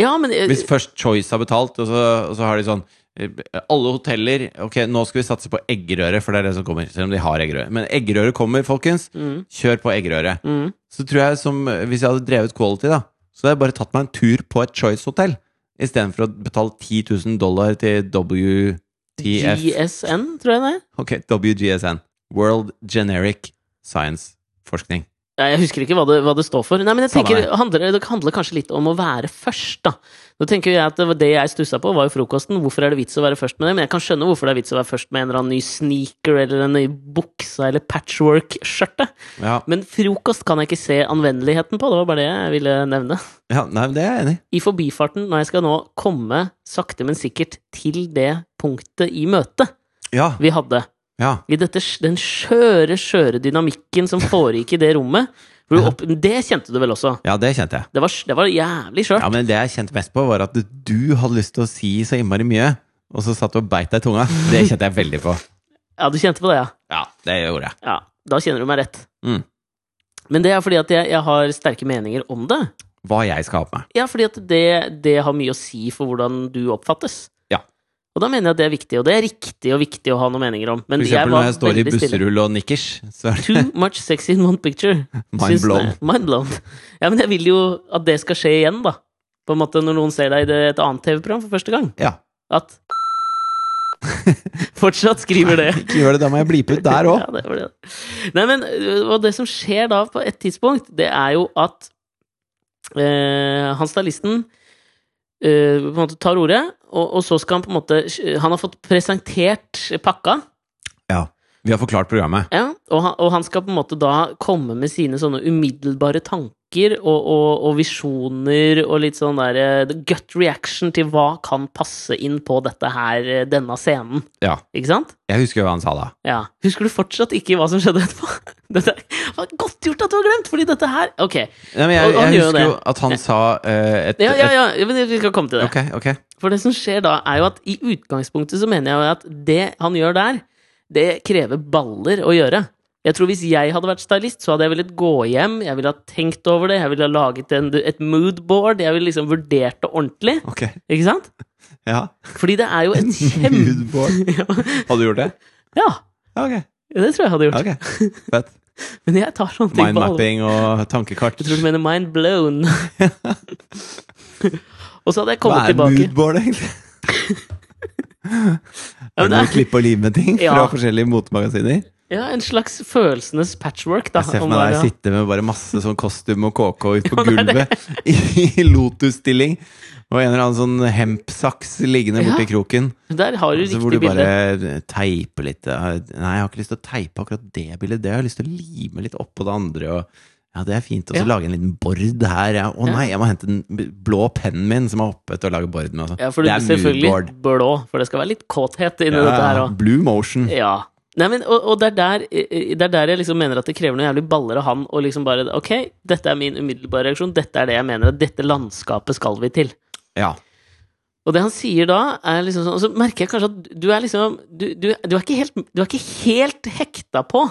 Speaker 1: Ja, men eh,
Speaker 2: Hvis først Choice har betalt, og så, og så har de sånn eh, Alle hoteller Ok, nå skal vi satse på eggerøre, for det er det som kommer. Selv om de har eggerøre. Men eggerøre kommer, folkens.
Speaker 1: mm,
Speaker 2: Kjør på eggerøre.
Speaker 1: mm.
Speaker 2: Så tror jeg som eh, Hvis jeg hadde drevet quality, da, så hadde jeg bare tatt meg en tur på et Choice-hotell. Istedenfor å betale 10 000 dollar til WTF
Speaker 1: GSN, tror jeg det er.
Speaker 2: Ok, WGSN. World Generic Science Forskning.
Speaker 1: Nei, Jeg husker ikke hva det, hva det står for. Nei, men jeg
Speaker 2: Samme
Speaker 1: tenker,
Speaker 2: her.
Speaker 1: handler, Det handler kanskje litt om å være først, da. Nå tenker jeg at Det var det jeg stussa på, var jo frokosten. Hvorfor er det vits å være først med det? Men jeg kan skjønne hvorfor det er vits å være først med en eller annen ny sneaker eller en ny buksa eller patchwork-skjørte.
Speaker 2: Ja,
Speaker 1: Men frokost kan jeg ikke se anvendeligheten på. Det var bare det jeg ville nevne.
Speaker 2: ja nei, men det er jeg enig i.
Speaker 1: I forbifarten, når jeg skal nå komme sakte, men sikkert til det punktet i møtet
Speaker 2: Ja,
Speaker 1: vi hadde,
Speaker 2: ja.
Speaker 1: i dette, den skjøre, skjøre dynamikken som foregikk i det rommet hvor du opp, Det kjente du vel også?
Speaker 2: ja, det kjente jeg.
Speaker 1: Det var, det var jævlig skjørt.
Speaker 2: Ja, men det jeg kjente mest på, var at du hadde lyst til å si så innmari mye, og så satt du og beit deg i tunga. Det kjente jeg veldig på.
Speaker 1: Ja, du kjente på det, ja.
Speaker 2: Ja, det gjorde jeg.
Speaker 1: ja. Da kjenner du meg rett.
Speaker 2: Mm.
Speaker 1: Men det er fordi at jeg, jeg har sterke meninger om det.
Speaker 2: Hva jeg skal ha på meg.
Speaker 1: Ja, fordi at det, det har mye å si for hvordan du oppfattes.
Speaker 2: Ja.
Speaker 1: Og da mener jeg at det er viktig, og det er riktig og viktig å ha noen meninger om. Men
Speaker 2: For
Speaker 1: jeg
Speaker 2: eksempel
Speaker 1: var
Speaker 2: når jeg står i
Speaker 1: veldig stille.
Speaker 2: busserull og nikkers, så er det
Speaker 1: Too much sex in one picture.
Speaker 2: mind
Speaker 1: Syns-
Speaker 2: blown.
Speaker 1: Mind blown. Ja, men jeg vil jo at det skal skje igjen, da. På en måte når noen ser deg i det- et annet TV-program for første gang.
Speaker 2: Ja.
Speaker 1: At Fortsatt skriver det.
Speaker 2: Ikke gjør det, da må jeg blipe ut der òg.
Speaker 1: Ja, det var det. Nei, men øh, og det som skjer da på et tidspunkt, det er jo at øh, han stylisten øh, på en måte tar ordet, og, og så skal han på en måte øh, Han har fått presentert pakka,
Speaker 2: Ja. Vi har forklart programmet.
Speaker 1: ja, og, han, og han skal på en måte da komme med sine sånne umiddelbare tanker og, og, og visjoner og litt sånn der øh, the gut reaction til hva kan passe inn på dette her, øh, denne scenen,
Speaker 2: Ja.
Speaker 1: ikke sant?
Speaker 2: Jeg husker jo hva han sa da.
Speaker 1: Ja. Husker du fortsatt ikke hva som skjedde etterpå? Dette var godt gjort at du har glemt, fordi dette her Ok.
Speaker 2: Nei, men
Speaker 1: Og-
Speaker 2: jeg,
Speaker 1: han
Speaker 2: jeg
Speaker 1: gjør
Speaker 2: husker
Speaker 1: det.
Speaker 2: jo at han sa eh, et,
Speaker 1: Ja, ja,
Speaker 2: et
Speaker 1: ja, men vi skal komme til det.
Speaker 2: Ok, ok.
Speaker 1: For det som skjer da, er jo at i utgangspunktet så mener jeg jo at det han gjør der, det krever baller å gjøre. Jeg tror Hvis jeg hadde vært stylist, så hadde jeg villet gå hjem, jeg ville ha tenkt over det, jeg ville ha laget en, et moodboard, jeg ville liksom vurdert det ordentlig.
Speaker 2: ok
Speaker 1: Ikke sant?
Speaker 2: Ja.
Speaker 1: Fordi det er jo et kjempe...
Speaker 2: Moodboard. Hadde du gjort det?
Speaker 1: Ja,
Speaker 2: Ja, ok.
Speaker 1: det tror jeg hadde gjort.
Speaker 2: ok. Fett.
Speaker 1: Men jeg tar sånne ting på alvor.
Speaker 2: Mindmapping og tankekart.
Speaker 1: Jeg tror du mener mind blown. og så hadde jeg
Speaker 2: Hva
Speaker 1: kommet
Speaker 2: er
Speaker 1: tilbake.
Speaker 2: moodboard, egentlig?
Speaker 1: Ja,
Speaker 2: Er
Speaker 1: men
Speaker 2: det
Speaker 1: det
Speaker 2: noen klipp og lim-ting fra
Speaker 1: Ja.
Speaker 2: forskjellige motemagasiner?
Speaker 1: Ja, en slags følelsenes patchwork. Da,
Speaker 2: Jeg ser
Speaker 1: om
Speaker 2: for meg
Speaker 1: hva-
Speaker 2: deg sitte med bare masse sånn kostyme og KK ut på gulvet i i lotus-stilling, og en eller annen sånn hempsaks liggende
Speaker 1: Ja.
Speaker 2: borti kroken,
Speaker 1: Der har du
Speaker 2: så Altså, hvor
Speaker 1: riktig
Speaker 2: du
Speaker 1: bilde.
Speaker 2: bare teiper litt Nei, jeg har ikke lyst til å teipe akkurat det bildet, det har jeg lyst til å lime litt oppå det andre. og ja, det er fint. Og så
Speaker 1: Ja.
Speaker 2: lage en liten bord her. Ja. Å
Speaker 1: Ja.
Speaker 2: nei, jeg må hente den b- blå pennen min som er oppe til å lage bord med. og sånn.
Speaker 1: Ja, for du, selvfølgelig blå, for det skal være litt kåthet inni dette her òg.
Speaker 2: Blue motion.
Speaker 1: Ja. Nei, men, og, og det, er der, eh, det er der jeg liksom mener at det krever noen jævlig baller av han å liksom bare Ok, dette er min umiddelbare reaksjon, dette er det jeg mener, at dette landskapet skal vi til.
Speaker 2: Ja.
Speaker 1: Og det han sier da, er liksom sånn Og så merker jeg kanskje at du er liksom Du, du, du, er, ikke helt, du er ikke helt hekta på,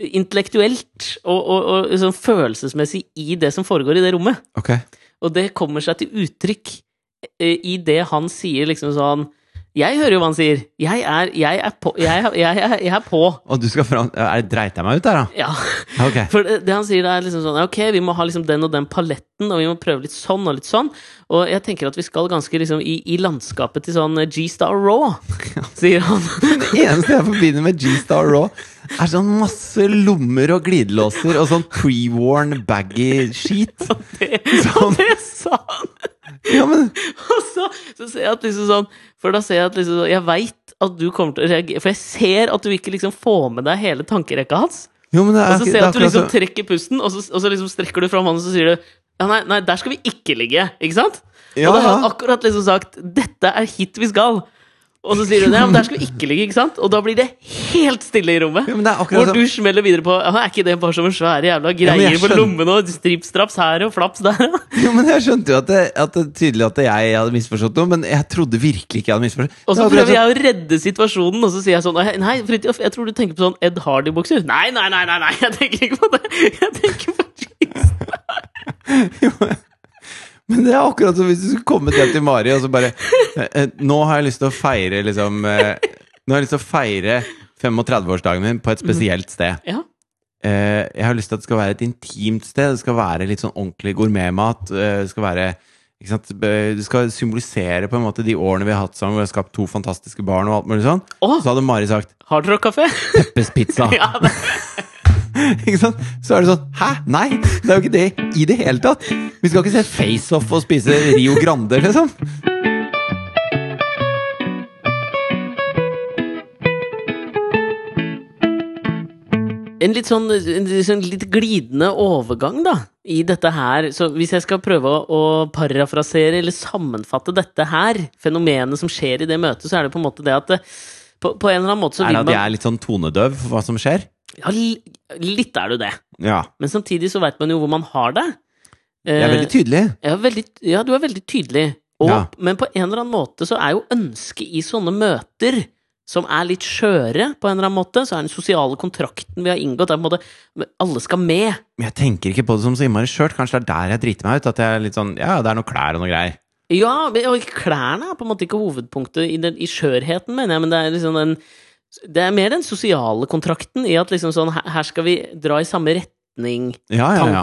Speaker 1: intellektuelt og, og, og sånn følelsesmessig, i det som foregår i det rommet.
Speaker 2: Ok.
Speaker 1: Og det kommer seg til uttrykk eh, i det han sier liksom sånn Jeg hører jo hva han sier. Jeg er, jeg er på. Jeg, er- jeg, er- jeg er på.
Speaker 2: Og du skal fram er det- Dreit jeg meg ut der, da?
Speaker 1: Ja.
Speaker 2: Ok.
Speaker 1: For det, det han sier, da er liksom sånn Ok, vi må ha liksom den og den paletten, og vi må prøve litt sånn og litt sånn. Og jeg tenker at vi skal ganske liksom i, i landskapet til sånn eh, G-Star Raw, sier han.
Speaker 2: Det eneste jeg forbinder med G-Star Raw, er sånn masse lommer og glidelåser og sånn pre-worn baggy sheet.
Speaker 1: Det, og det sa han!
Speaker 2: Ja, men
Speaker 1: Og så, så ser jeg at liksom sånn For da ser jeg at liksom sånn, Jeg veit at du kommer til å reagere, for jeg ser at du ikke liksom får med deg hele tankerekka hans.
Speaker 2: jo, men det
Speaker 1: Og
Speaker 2: er,
Speaker 1: så
Speaker 2: ikke-
Speaker 1: ser
Speaker 2: det
Speaker 1: jeg
Speaker 2: er
Speaker 1: at du
Speaker 2: akkurat
Speaker 1: liksom
Speaker 2: så-
Speaker 1: trekker pusten, og så, og så liksom strekker du fram hånden og så sier du ja, nei, nei, der skal vi ikke ligge, ikke sant?
Speaker 2: Ja,
Speaker 1: og da har
Speaker 2: ja.
Speaker 1: han akkurat liksom sagt 'dette er hit vi skal'. Og så sier hun ja, men der skal vi ikke ligge, ikke sant? Og da blir det helt stille i rommet.
Speaker 2: Ja, men det er akkurat
Speaker 1: Hvor du
Speaker 2: som
Speaker 1: smeller videre på ja, Er ikke det bare som en svære jævla
Speaker 2: Ja,
Speaker 1: greier
Speaker 2: men jeg
Speaker 1: på
Speaker 2: skjønner.
Speaker 1: lommen og strips-straps her og flaps der? ja?
Speaker 2: jo, men Jeg skjønte jo at det, at det tydelig at jeg hadde misforstått noe, men jeg trodde virkelig ikke jeg hadde
Speaker 1: Og
Speaker 2: misforstått. Det
Speaker 1: så
Speaker 2: er akkurat
Speaker 1: prøver jeg å redde situasjonen, og så sier jeg sånn Nei, Fridtjof, jeg tror du tenker på sånn Ed Hardy-bukser. Nei, nei, nei, nei, nei, jeg tenker ikke på det. Jeg tenker på jeans.
Speaker 2: Men det er akkurat som hvis du skulle kommet hjem til Mari og så bare eh, eh, Nå har jeg lyst til å feire liksom eh, Nå har jeg lyst til å feire 35-årsdagen min på et
Speaker 1: Mhm.
Speaker 2: spesielt sted.
Speaker 1: Ja.
Speaker 2: Eh, jeg har lyst til at det skal være et intimt sted. Det skal være litt sånn ordentlig gourmetmat. eh, Det skal være ikke sant? eh, Det skal symbolisere på en måte de årene vi har hatt sammen. Hvor vi har skapt to fantastiske barn og alt mulig sånn.
Speaker 1: Å,
Speaker 2: Så hadde Mari sagt
Speaker 1: Hard Rock Café?
Speaker 2: 'Peppes pizza'.
Speaker 1: Ja, det
Speaker 2: Ikke sant? Så er det sånn Hæ? Nei! Det er jo ikke det i det hele tatt! Vi skal ikke se FaceOff og spise Rio Grande, liksom.
Speaker 1: En litt sånn, en litt sånn litt glidende overgang, da, i dette her. Så hvis jeg skal prøve å å parafrasere eller sammenfatte dette her, fenomenet som skjer i det møtet, så er det på en måte det at det, på, på en eller annen måte så
Speaker 2: Er det
Speaker 1: vil
Speaker 2: at jeg
Speaker 1: man
Speaker 2: er litt sånn tonedøv for hva som skjer?
Speaker 1: ja, li- Litt er du det.
Speaker 2: Ja.
Speaker 1: Men samtidig så veit man jo hvor man har det.
Speaker 2: Jeg
Speaker 1: Eh.
Speaker 2: er veldig tydelig.
Speaker 1: Ja, veldig, ja du er veldig tydelig. Og,
Speaker 2: Ja.
Speaker 1: Men på en eller annen måte så er jo ønsket i sånne møter som er litt skjøre, på en eller annen måte, så er den sosiale kontrakten vi har inngått, det er på en måte Alle skal med.
Speaker 2: Men jeg tenker ikke på det som så innmari skjørt. Kanskje det er der jeg driter meg ut. At jeg er litt sånn Ja, det er noe klær og noe greier.
Speaker 1: Ja, men- og klærne er på en måte ikke hovedpunktet i, den, i skjørheten, mener jeg, men det er liksom den Det er mer den sosiale kontrakten i at liksom sånn her, her skal vi dra i samme retning-tankegangen.
Speaker 2: Ja, ja, ja.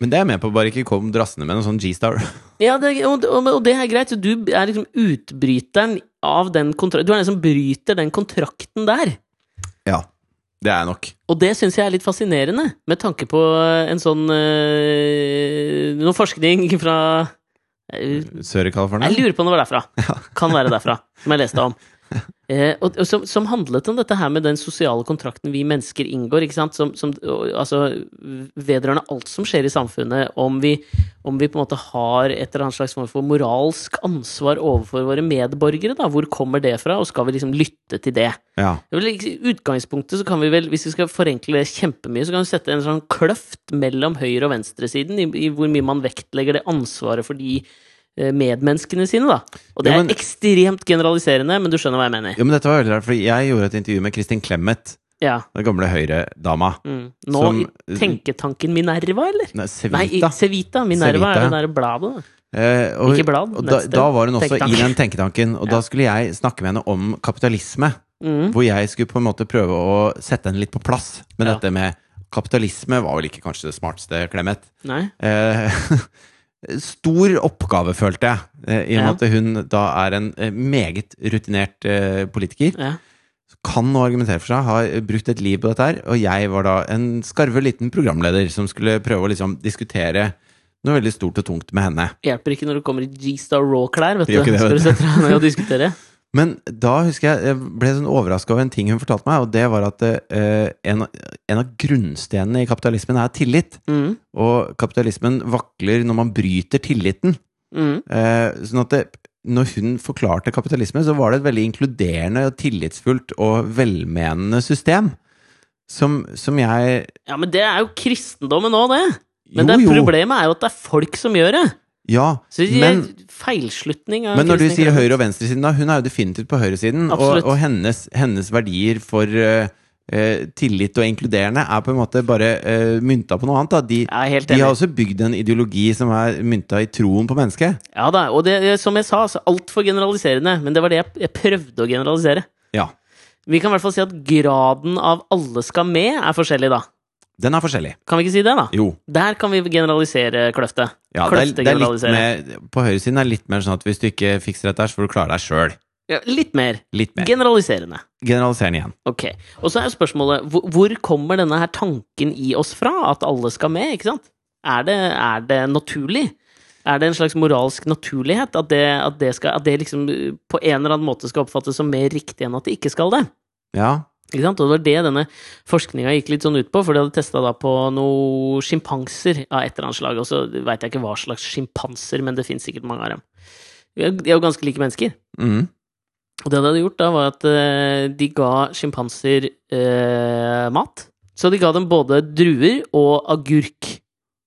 Speaker 2: Men det er jeg med på. Bare ikke kom drassende med noe sånn G-star.
Speaker 1: Ja, det, og, og, og det er greit. Så du er liksom utbryteren av den kontrakten. Du er den som bryter den kontrakten der.
Speaker 2: Ja. Det er jeg nok.
Speaker 1: Og det syns jeg er litt fascinerende, med tanke på en sånn øh, Noe forskning fra eh, Jeg
Speaker 2: Sør i California?
Speaker 1: lurer på om det var derfra. Kan være derfra, som jeg leste om. Eh, og, og som, som handlet om dette her med den sosiale kontrakten vi mennesker inngår, ikke sant? Som, som, og, altså, vedrørende alt som skjer i samfunnet, om vi, om vi på en måte har et eller annet slags form for moralsk ansvar overfor våre medborgere, da, hvor kommer det fra, og skal vi liksom lytte til det?
Speaker 2: Ja.
Speaker 1: Jeg vil, ikke- I utgangspunktet så kan vi vel, hvis vi skal forenkle det kjempemye, så kan vi sette en sånn kløft mellom høyre- og venstresiden i, i hvor mye man vektlegger det ansvaret for de eh, medmenneskene sine, da. Og det
Speaker 2: Ja,
Speaker 1: er
Speaker 2: men-
Speaker 1: ekstremt generaliserende, men du skjønner hva jeg mener.
Speaker 2: Jo, men dette var veldig rart, for jeg gjorde et intervju med Kristin Clemet,
Speaker 1: Ja.
Speaker 2: den gamle Høyre-dama.
Speaker 1: Mm. Nå
Speaker 2: Som-
Speaker 1: i tenketanken Minerva, eller?
Speaker 2: Nei,
Speaker 1: Nei, i-
Speaker 2: Civita.
Speaker 1: Cevita. Minerva
Speaker 2: Civita,
Speaker 1: er det
Speaker 2: ja.
Speaker 1: der bladet. da.
Speaker 2: Eh, og,
Speaker 1: Ikke blad,
Speaker 2: og da,
Speaker 1: nettsted.
Speaker 2: da var hun også
Speaker 1: Tenketank.
Speaker 2: i den tenketanken, og da skulle jeg snakke med henne om kapitalisme.
Speaker 1: Mm.
Speaker 2: Hvor jeg skulle på en måte prøve å sette henne litt på plass. Men
Speaker 1: Ja.
Speaker 2: dette med kapitalisme var vel ikke kanskje det smarteste, Clemet.
Speaker 1: Nei.
Speaker 2: Eh, stor oppgave, følte jeg. Eh, I og
Speaker 1: Ja.
Speaker 2: med at hun da er en eh, meget rutinert eh, politiker.
Speaker 1: Ja.
Speaker 2: Kan nå argumentere for seg, har brukt et liv på dette her. Og jeg var da en skarve liten programleder som skulle prøve å liksom diskutere noe veldig stort og tungt med henne.
Speaker 1: Hjelper ikke når du kommer i G-Star Raw-klær, vet
Speaker 2: Det gjør
Speaker 1: du.
Speaker 2: ikke det,
Speaker 1: Skal
Speaker 2: vet
Speaker 1: du
Speaker 2: du.
Speaker 1: sette deg ned og diskutere?
Speaker 2: Men da husker jeg jeg ble sånn overraska over en ting hun fortalte meg, og det var at eh, en, en av grunnstenene i kapitalismen er tillit.
Speaker 1: Mm.
Speaker 2: Og kapitalismen vakler når man bryter tilliten.
Speaker 1: Mm.
Speaker 2: Eh, sånn at det, når hun forklarte kapitalisme, så var det et veldig inkluderende, og tillitsfullt og velmenende system. Som, som jeg
Speaker 1: Ja, men det er jo kristendommen òg, det. Men det
Speaker 2: Jo,
Speaker 1: er-
Speaker 2: jo.
Speaker 1: problemet er jo at det er folk som gjør det.
Speaker 2: Ja.
Speaker 1: Så det
Speaker 2: men,
Speaker 1: er feilslutning av
Speaker 2: men når du
Speaker 1: kristen
Speaker 2: sier
Speaker 1: kristen.
Speaker 2: høyre- og venstresiden, da Hun er jo definitivt på høyresiden. Og,
Speaker 1: Absolutt.
Speaker 2: og hennes, hennes verdier for eh, eh, tillit og inkluderende er på en måte bare eh, mynta på noe annet. Da. De,
Speaker 1: Jeg er helt
Speaker 2: de
Speaker 1: enig.
Speaker 2: har også bygd en ideologi som er mynta i troen på mennesket.
Speaker 1: Ja da, og det, det- som jeg sa, altså, altfor generaliserende. Men det var det jeg, jeg prøvde å generalisere.
Speaker 2: Ja.
Speaker 1: Vi kan i hvert fall si at graden av 'alle skal med' er forskjellig, da.
Speaker 2: Den er forskjellig.
Speaker 1: Kan vi ikke si det, da?
Speaker 2: Jo.
Speaker 1: Der kan vi generalisere kløftet.
Speaker 2: Ja, det er, det er litt mer, på høyresiden er det litt mer sånn at hvis du ikke fikser dette her, så får du klare deg sjøl.
Speaker 1: Ja, litt mer.
Speaker 2: Litt mer.
Speaker 1: Generaliserende.
Speaker 2: Generaliser den igjen.
Speaker 1: Ok. Og så er jo spørsmålet hvor, hvor kommer denne her tanken i oss fra? At alle skal med, ikke sant? Er det, er det naturlig? Er det en slags moralsk naturlighet? At det, at, det skal, at det liksom uh, på en eller annen måte skal oppfattes som mer riktig enn at det ikke skal det?
Speaker 2: Ja.
Speaker 1: Ikke sant? Og det var det denne forskninga gikk litt sånn ut på, for de hadde testa på noen sjimpanser av et eller annet slag. Og så veit jeg ikke hva slags sjimpanser, men det fins sikkert mange av dem. De er de er jo ganske like mennesker.
Speaker 2: Mm.
Speaker 1: Og det de hadde gjort da, var at eh, de ga sjimpanser eh, mat. Så de ga dem både druer og agurk.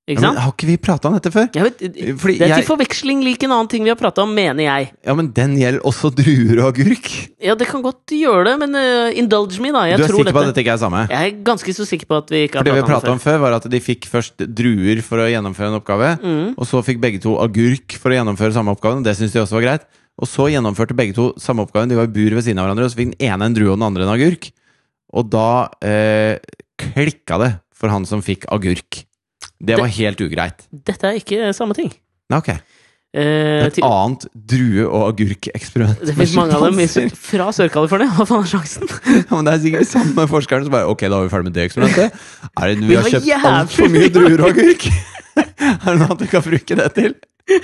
Speaker 1: Ikke
Speaker 2: Ja, men
Speaker 1: sant?
Speaker 2: har ikke vi prata om dette før?
Speaker 1: Jeg vet,
Speaker 2: Fordi
Speaker 1: det er til
Speaker 2: jeg,
Speaker 1: forveksling lik en annen ting vi har prata om, mener jeg.
Speaker 2: ja, men den gjelder også druer og agurk.
Speaker 1: Ja, det kan godt gjøre det, men eh, indulge me, da. Jeg
Speaker 2: du er
Speaker 1: tror
Speaker 2: sikker på at
Speaker 1: dette.
Speaker 2: dette ikke er samme?
Speaker 1: Jeg er ganske så sikker på at vi ikke
Speaker 2: For
Speaker 1: har
Speaker 2: det vi
Speaker 1: prata
Speaker 2: prata
Speaker 1: om
Speaker 2: om før, var at de fikk først druer for å gjennomføre en oppgave.
Speaker 1: det før. Mm.
Speaker 2: Og så fikk begge to agurk for å gjennomføre samme oppgaven. og Det syntes de også var greit. Og så gjennomførte begge to samme oppgaven. De var i bur ved siden av hverandre, og så fikk den ene en drue og den andre en agurk. Og da eh, klikka det for han som fikk agurk. Det var helt ugreit.
Speaker 1: Dette er ikke samme ting.
Speaker 2: Nei, ok.
Speaker 1: Eh,
Speaker 2: Et
Speaker 1: til,
Speaker 2: annet drue- og agurkeksperiment.
Speaker 1: det fins mange av dem i,
Speaker 2: Sjimpanser.
Speaker 1: fra Sør-California. Hva faen er sjansen?
Speaker 2: Ja, men det er sikkert samme forskeren som bare Ok, da var vi ferdig med det eksperimentet. Er det, vi,
Speaker 1: Vi
Speaker 2: har
Speaker 1: har
Speaker 2: kjøpt altfor mye
Speaker 1: jævlig mye
Speaker 2: druer og agurk. er det noe annet vi kan bruke det til? vi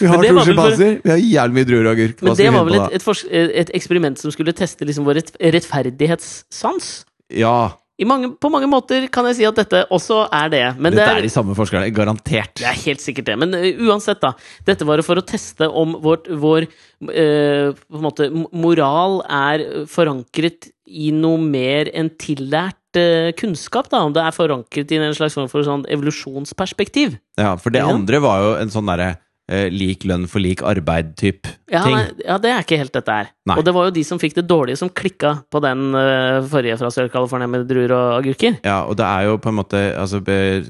Speaker 1: Men det var
Speaker 2: har to
Speaker 1: vel for-
Speaker 2: sjimpanser, vi har jævlig mye druer og agurk. Hva
Speaker 1: Men
Speaker 2: skal
Speaker 1: det var
Speaker 2: vi
Speaker 1: vel
Speaker 2: finne på
Speaker 1: et,
Speaker 2: da?
Speaker 1: et, fors- et eksperiment som skulle teste liksom vår rett, rettferdighetssans.
Speaker 2: Ja,
Speaker 1: I mange, på mange måter kan jeg si at dette også er det. Men det
Speaker 2: dette
Speaker 1: er,
Speaker 2: er
Speaker 1: liksom-
Speaker 2: de samme forskerne, garantert.
Speaker 1: det er helt sikkert det. Men ø, uansett, da. Dette var for å teste om vårt, vår ø, på en måte, m- moral er forankret i noe mer enn tillært ø, kunnskap. da, Om det er forankret i en slags form for sånn evolusjonsperspektiv.
Speaker 2: Ja, for det
Speaker 1: Ja.
Speaker 2: andre var jo en sånn derre eh, lik lønn for lik arbeid-type
Speaker 1: Ja,
Speaker 2: ting.
Speaker 1: nei, ja, det er ikke helt dette her.
Speaker 2: Nei.
Speaker 1: Og det var jo de som fikk det dårlige, som klikka på den ø, forrige fra Sør-California med druer og agurker.
Speaker 2: Ja, og det er jo på en måte altså, be-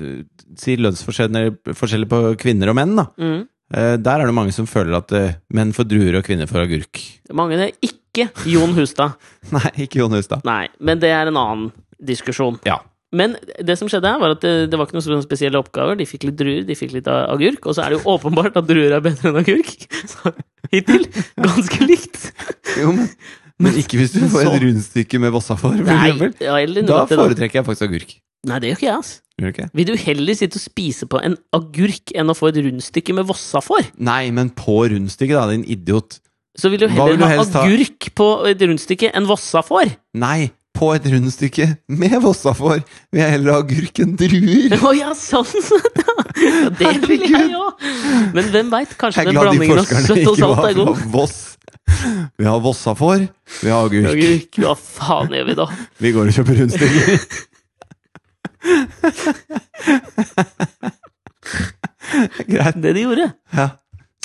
Speaker 2: Si lønnsforskjeller forskjeller på kvinner og menn, da.
Speaker 1: Mm.
Speaker 2: Eh, der er det mange som føler at eh, menn får druer og kvinner får agurk.
Speaker 1: Mange det er ikke Jon Hustad.
Speaker 2: Nei, ikke Jon Hustad.
Speaker 1: Nei, men det er en annen diskusjon.
Speaker 2: Ja.
Speaker 1: Men det som skjedde her, var at det, det var ikke noen sånne spesielle oppgaver. De fikk litt druer, de fikk litt a- agurk. Og så er det jo åpenbart at druer er bedre enn agurk. Så hittil ganske likt.
Speaker 2: Jo, men, men ikke hvis du
Speaker 1: Men
Speaker 2: får
Speaker 1: så-
Speaker 2: et rundstykke med vassafar, for
Speaker 1: Nei,
Speaker 2: eksempel.
Speaker 1: ja, eller
Speaker 2: Da
Speaker 1: nøtter, da.
Speaker 2: foretrekker jeg faktisk agurk.
Speaker 1: Nei, det gjør ikke jeg, ass.
Speaker 2: Gjør du ikke?
Speaker 1: Vil du heller sitte og spise på en agurk enn å få et rundstykke med vossa for?
Speaker 2: Nei, men på rundstykket, da, din idiot.
Speaker 1: Så vil du
Speaker 2: Hva
Speaker 1: heller
Speaker 2: vil du
Speaker 1: ha
Speaker 2: helst ha?
Speaker 1: agurk på et rundstykke enn vossa for?
Speaker 2: Nei, på et rundstykke med vassafar vil jeg heller ha agurk enn druer.
Speaker 1: Å ja, sånn sett, ja! Ja, Det vil jeg
Speaker 2: Herregud.
Speaker 1: òg! Men hvem veit? Kanskje
Speaker 2: Jeg er
Speaker 1: den
Speaker 2: glad de
Speaker 1: blandingen av
Speaker 2: forskerne
Speaker 1: søtt og
Speaker 2: ikke
Speaker 1: salt
Speaker 2: var
Speaker 1: er god.
Speaker 2: fra Voss. Vi har vossafar, vi har agurk.
Speaker 1: Agurk, hva faen gjør vi da?
Speaker 2: Vi går og kjøper rundstykker. Greit.
Speaker 1: Det de gjorde,
Speaker 2: Ja.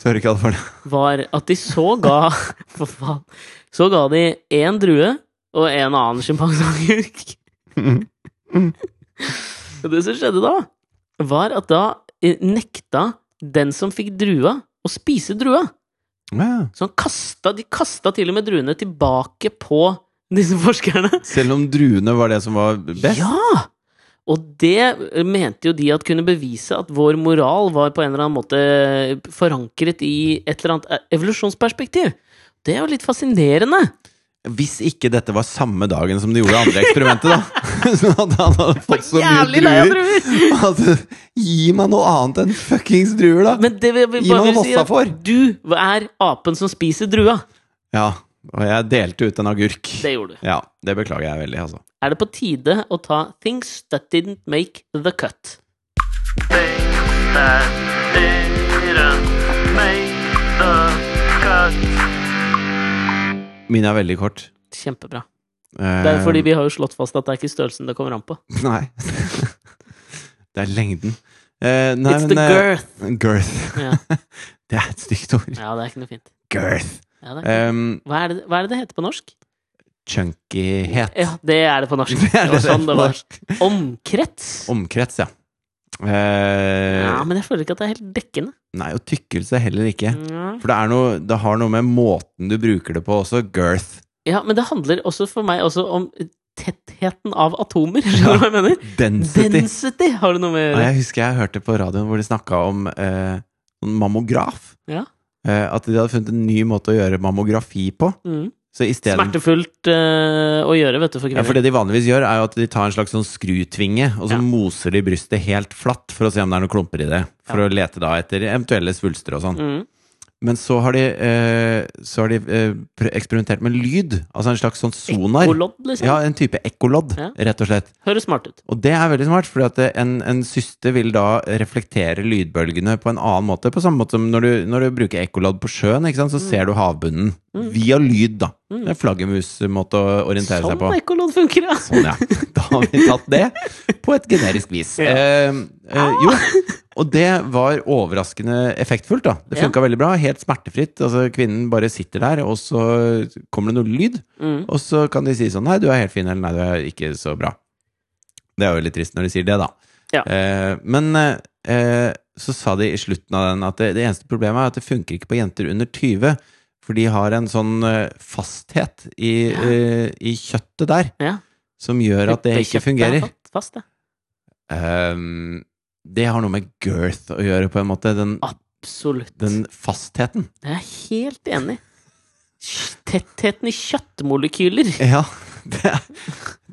Speaker 2: Sør-California.
Speaker 1: var at de så ga For faen. Så ga de én drue og en annen sjimpanseagurk. Og det som skjedde da, var at da eh, nekta den som fikk drua, å spise drua.
Speaker 2: Ja.
Speaker 1: Så han kasta, de kasta til og med druene tilbake på disse forskerne.
Speaker 2: Selv om druene var det som var best?
Speaker 1: Ja! Og det mente jo de at kunne bevise at vår moral var på en eller annen måte forankret i et eller annet eh, evolusjonsperspektiv. Det er jo litt fascinerende.
Speaker 2: Hvis ikke dette var samme dagen som de gjorde det andre eksperimentet, da. Sånn at han hadde fått så mye
Speaker 1: Jævlig lei av
Speaker 2: druer.
Speaker 1: druer!
Speaker 2: Altså, gi meg noe annet enn fuckings druer, da!
Speaker 1: Men det vil vi
Speaker 2: Gi meg
Speaker 1: bare
Speaker 2: noe
Speaker 1: vil si
Speaker 2: vossa
Speaker 1: at
Speaker 2: for.
Speaker 1: du er apen som spiser drua.
Speaker 2: Ja, og jeg delte ut en agurk.
Speaker 1: Det gjorde du.
Speaker 2: Ja, det beklager jeg veldig, altså.
Speaker 1: Er det på tide å ta things that didn't make the cut?
Speaker 3: things that didn't make the cut.
Speaker 2: Mine er veldig kort.
Speaker 1: Kjempebra.
Speaker 2: Eh,
Speaker 1: Det er fordi vi har jo slått fast at det er ikke størrelsen det kommer an på.
Speaker 2: Nei. det er lengden. Eh, nei,
Speaker 1: It's
Speaker 2: men,
Speaker 1: the
Speaker 2: eh,
Speaker 1: girth.
Speaker 2: Girth.
Speaker 1: Ja,
Speaker 2: Det er et stygt ord.
Speaker 1: ja det er ikke noe fint.
Speaker 2: Girth.
Speaker 1: Ja, det er. ikke noe-
Speaker 2: Um,
Speaker 1: Hva, er det, hva er det det heter på norsk?
Speaker 2: chunkyhet.
Speaker 1: Ja, det er det på norsk.
Speaker 2: Det er det
Speaker 1: var sånn det
Speaker 2: det er
Speaker 1: var. Omkrets?
Speaker 2: Omkrets, ja. Eh,
Speaker 1: Ja, men jeg føler ikke at det er helt dekkende.
Speaker 2: Nei, og tykkelse heller ikke.
Speaker 1: Ja.
Speaker 2: For det, er noe, det har noe med måten du bruker det på også. Girth.
Speaker 1: men det handler også for meg også om tettheten av atomer. Skjønner du hva jeg mener?
Speaker 2: Density.
Speaker 1: Density har det noe med å
Speaker 2: Og
Speaker 1: gjøre.
Speaker 2: jeg husker jeg hørte på radioen hvor de snakka om eh, en mammograf.
Speaker 1: Ja.
Speaker 2: Eh, at de hadde funnet en ny måte å gjøre mammografi på.
Speaker 1: Mm.
Speaker 2: Så i stedet,
Speaker 1: Smertefullt eh, å gjøre, vet du, for
Speaker 2: ja, For
Speaker 1: kvinner.
Speaker 2: det de vanligvis gjør, er jo at de tar en slags sånn skrutvinge, og så
Speaker 1: Ja.
Speaker 2: moser de brystet helt flatt for å se om det er noen klumper i det. For
Speaker 1: Ja.
Speaker 2: å lete da etter eventuelle svulster og sånn.
Speaker 1: Mm.
Speaker 2: Men så har de, eh, så har de eh, pr- eksperimentert med lyd. Altså en slags sånn sonar.
Speaker 1: Ekkolodd, liksom.
Speaker 2: Ja, en type ekkolodd,
Speaker 1: Ja.
Speaker 2: rett og slett.
Speaker 1: Høres smart ut.
Speaker 2: Og det er veldig smart, for en, en syste vil da reflektere lydbølgene på en annen måte. På samme måte som når du, når du bruker ekkolodd på sjøen, ikke
Speaker 1: Mm.
Speaker 2: sant? så ser du havbunnen via lyd, da. Det er en flaggermusmåte å orientere
Speaker 1: Sånn
Speaker 2: seg på.
Speaker 1: ekkolodd funker, ja.
Speaker 2: Sånn, ja. Da har vi tatt det på et generisk vis.
Speaker 1: Ja. Ah!
Speaker 2: Eh, eh, jo, og det var overraskende effektfullt, da. Det
Speaker 1: Ja.
Speaker 2: funka veldig bra. Helt smertefritt. Altså, kvinnen bare sitter der, og så kommer det noe lyd.
Speaker 1: Mm.
Speaker 2: Og så kan de si sånn Nei, du er helt fin, eller nei, du er ikke så bra. Det er jo litt trist når de sier det, da.
Speaker 1: Ja.
Speaker 2: Eh, men eh, eh, så sa de i slutten av den at det, det eneste problemet er at det funker ikke på jenter under 20. For de har en sånn eh, fasthet i, eh, i kjøttet der
Speaker 1: Ja.
Speaker 2: som gjør at det ikke
Speaker 1: Kjøttet
Speaker 2: fungerer.
Speaker 1: er Fast, ja.
Speaker 2: Ehm, det har noe med girth å gjøre, på en måte. Den,
Speaker 1: Absolutt.
Speaker 2: den fastheten.
Speaker 1: Jeg er helt enig. Tettheten i kjøttmolekyler.
Speaker 2: Ja, det er,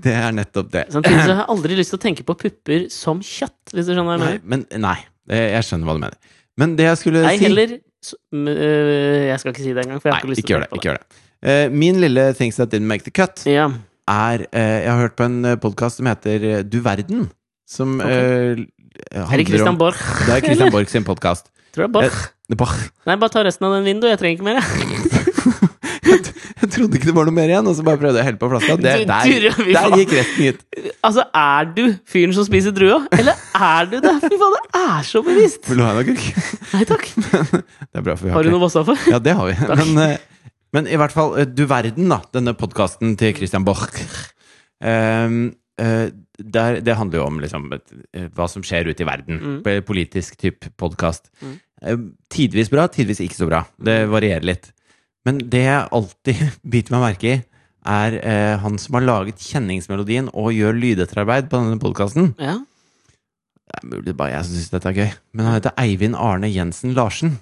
Speaker 2: det er nettopp det.
Speaker 1: Samtidig så har jeg aldri lyst til å tenke på pupper som kjøtt, hvis du skjønner hva jeg
Speaker 2: Nei,
Speaker 1: mener.
Speaker 2: men, nei, eh, jeg skjønner hva du mener. Men det jeg skulle
Speaker 1: Nei,
Speaker 2: si
Speaker 1: heller s- m- øh, Jeg skal ikke si det engang, for jeg har
Speaker 2: Nei,
Speaker 1: ikke lyst
Speaker 2: ikke
Speaker 1: til å
Speaker 2: gjør det.
Speaker 1: tenke på
Speaker 2: Ikke gjør det. Eh, min lille things that didn't make the cut
Speaker 1: det. Ja.
Speaker 2: er eh, Jeg har hørt på en podkast som heter eh, Du verden. Som eh,
Speaker 1: Er det
Speaker 2: handler
Speaker 1: Christian
Speaker 2: om
Speaker 1: Borch?
Speaker 2: Det er Christian Borch sin podkast.
Speaker 1: Tror det er Borch. Nei, bare ta resten av den vinduet. Jeg trenger ikke mer. jeg.
Speaker 2: Jeg trodde ikke det var noe mer igjen, og så bare prøvde jeg å helle på flaska. Det,
Speaker 1: Du
Speaker 2: der,
Speaker 1: durer, vi
Speaker 2: der
Speaker 1: faen.
Speaker 2: gikk resten ut.
Speaker 1: Altså, er du fyren som spiser drua? Eller er du det? Fy faen, det er så bevisst!
Speaker 2: Vil du ha en agurk?
Speaker 1: Nei takk.
Speaker 2: Det er bra, for vi har
Speaker 1: Har du
Speaker 2: ikke
Speaker 1: noe Vossa-for?
Speaker 2: Ja, det har vi. Men, eh, men i hvert fall, eh, du verden, da. Denne podkasten til Christian Borch. Ehm, eh, der, det handler jo om liksom, et- eh, hva som skjer ute i verden. P- Politisk type podkast.
Speaker 1: Mm.
Speaker 2: Tidvis bra, tidvis ikke så bra. Det varierer litt. Men det jeg alltid biter meg merke i, er eh, han som har laget kjenningsmelodien og gjør lydetterarbeid på denne podkasten.
Speaker 1: Ja.
Speaker 2: Det er mulig det er bare jeg som syns dette er gøy. Men han heter Eivind Arne Jensen Larsen.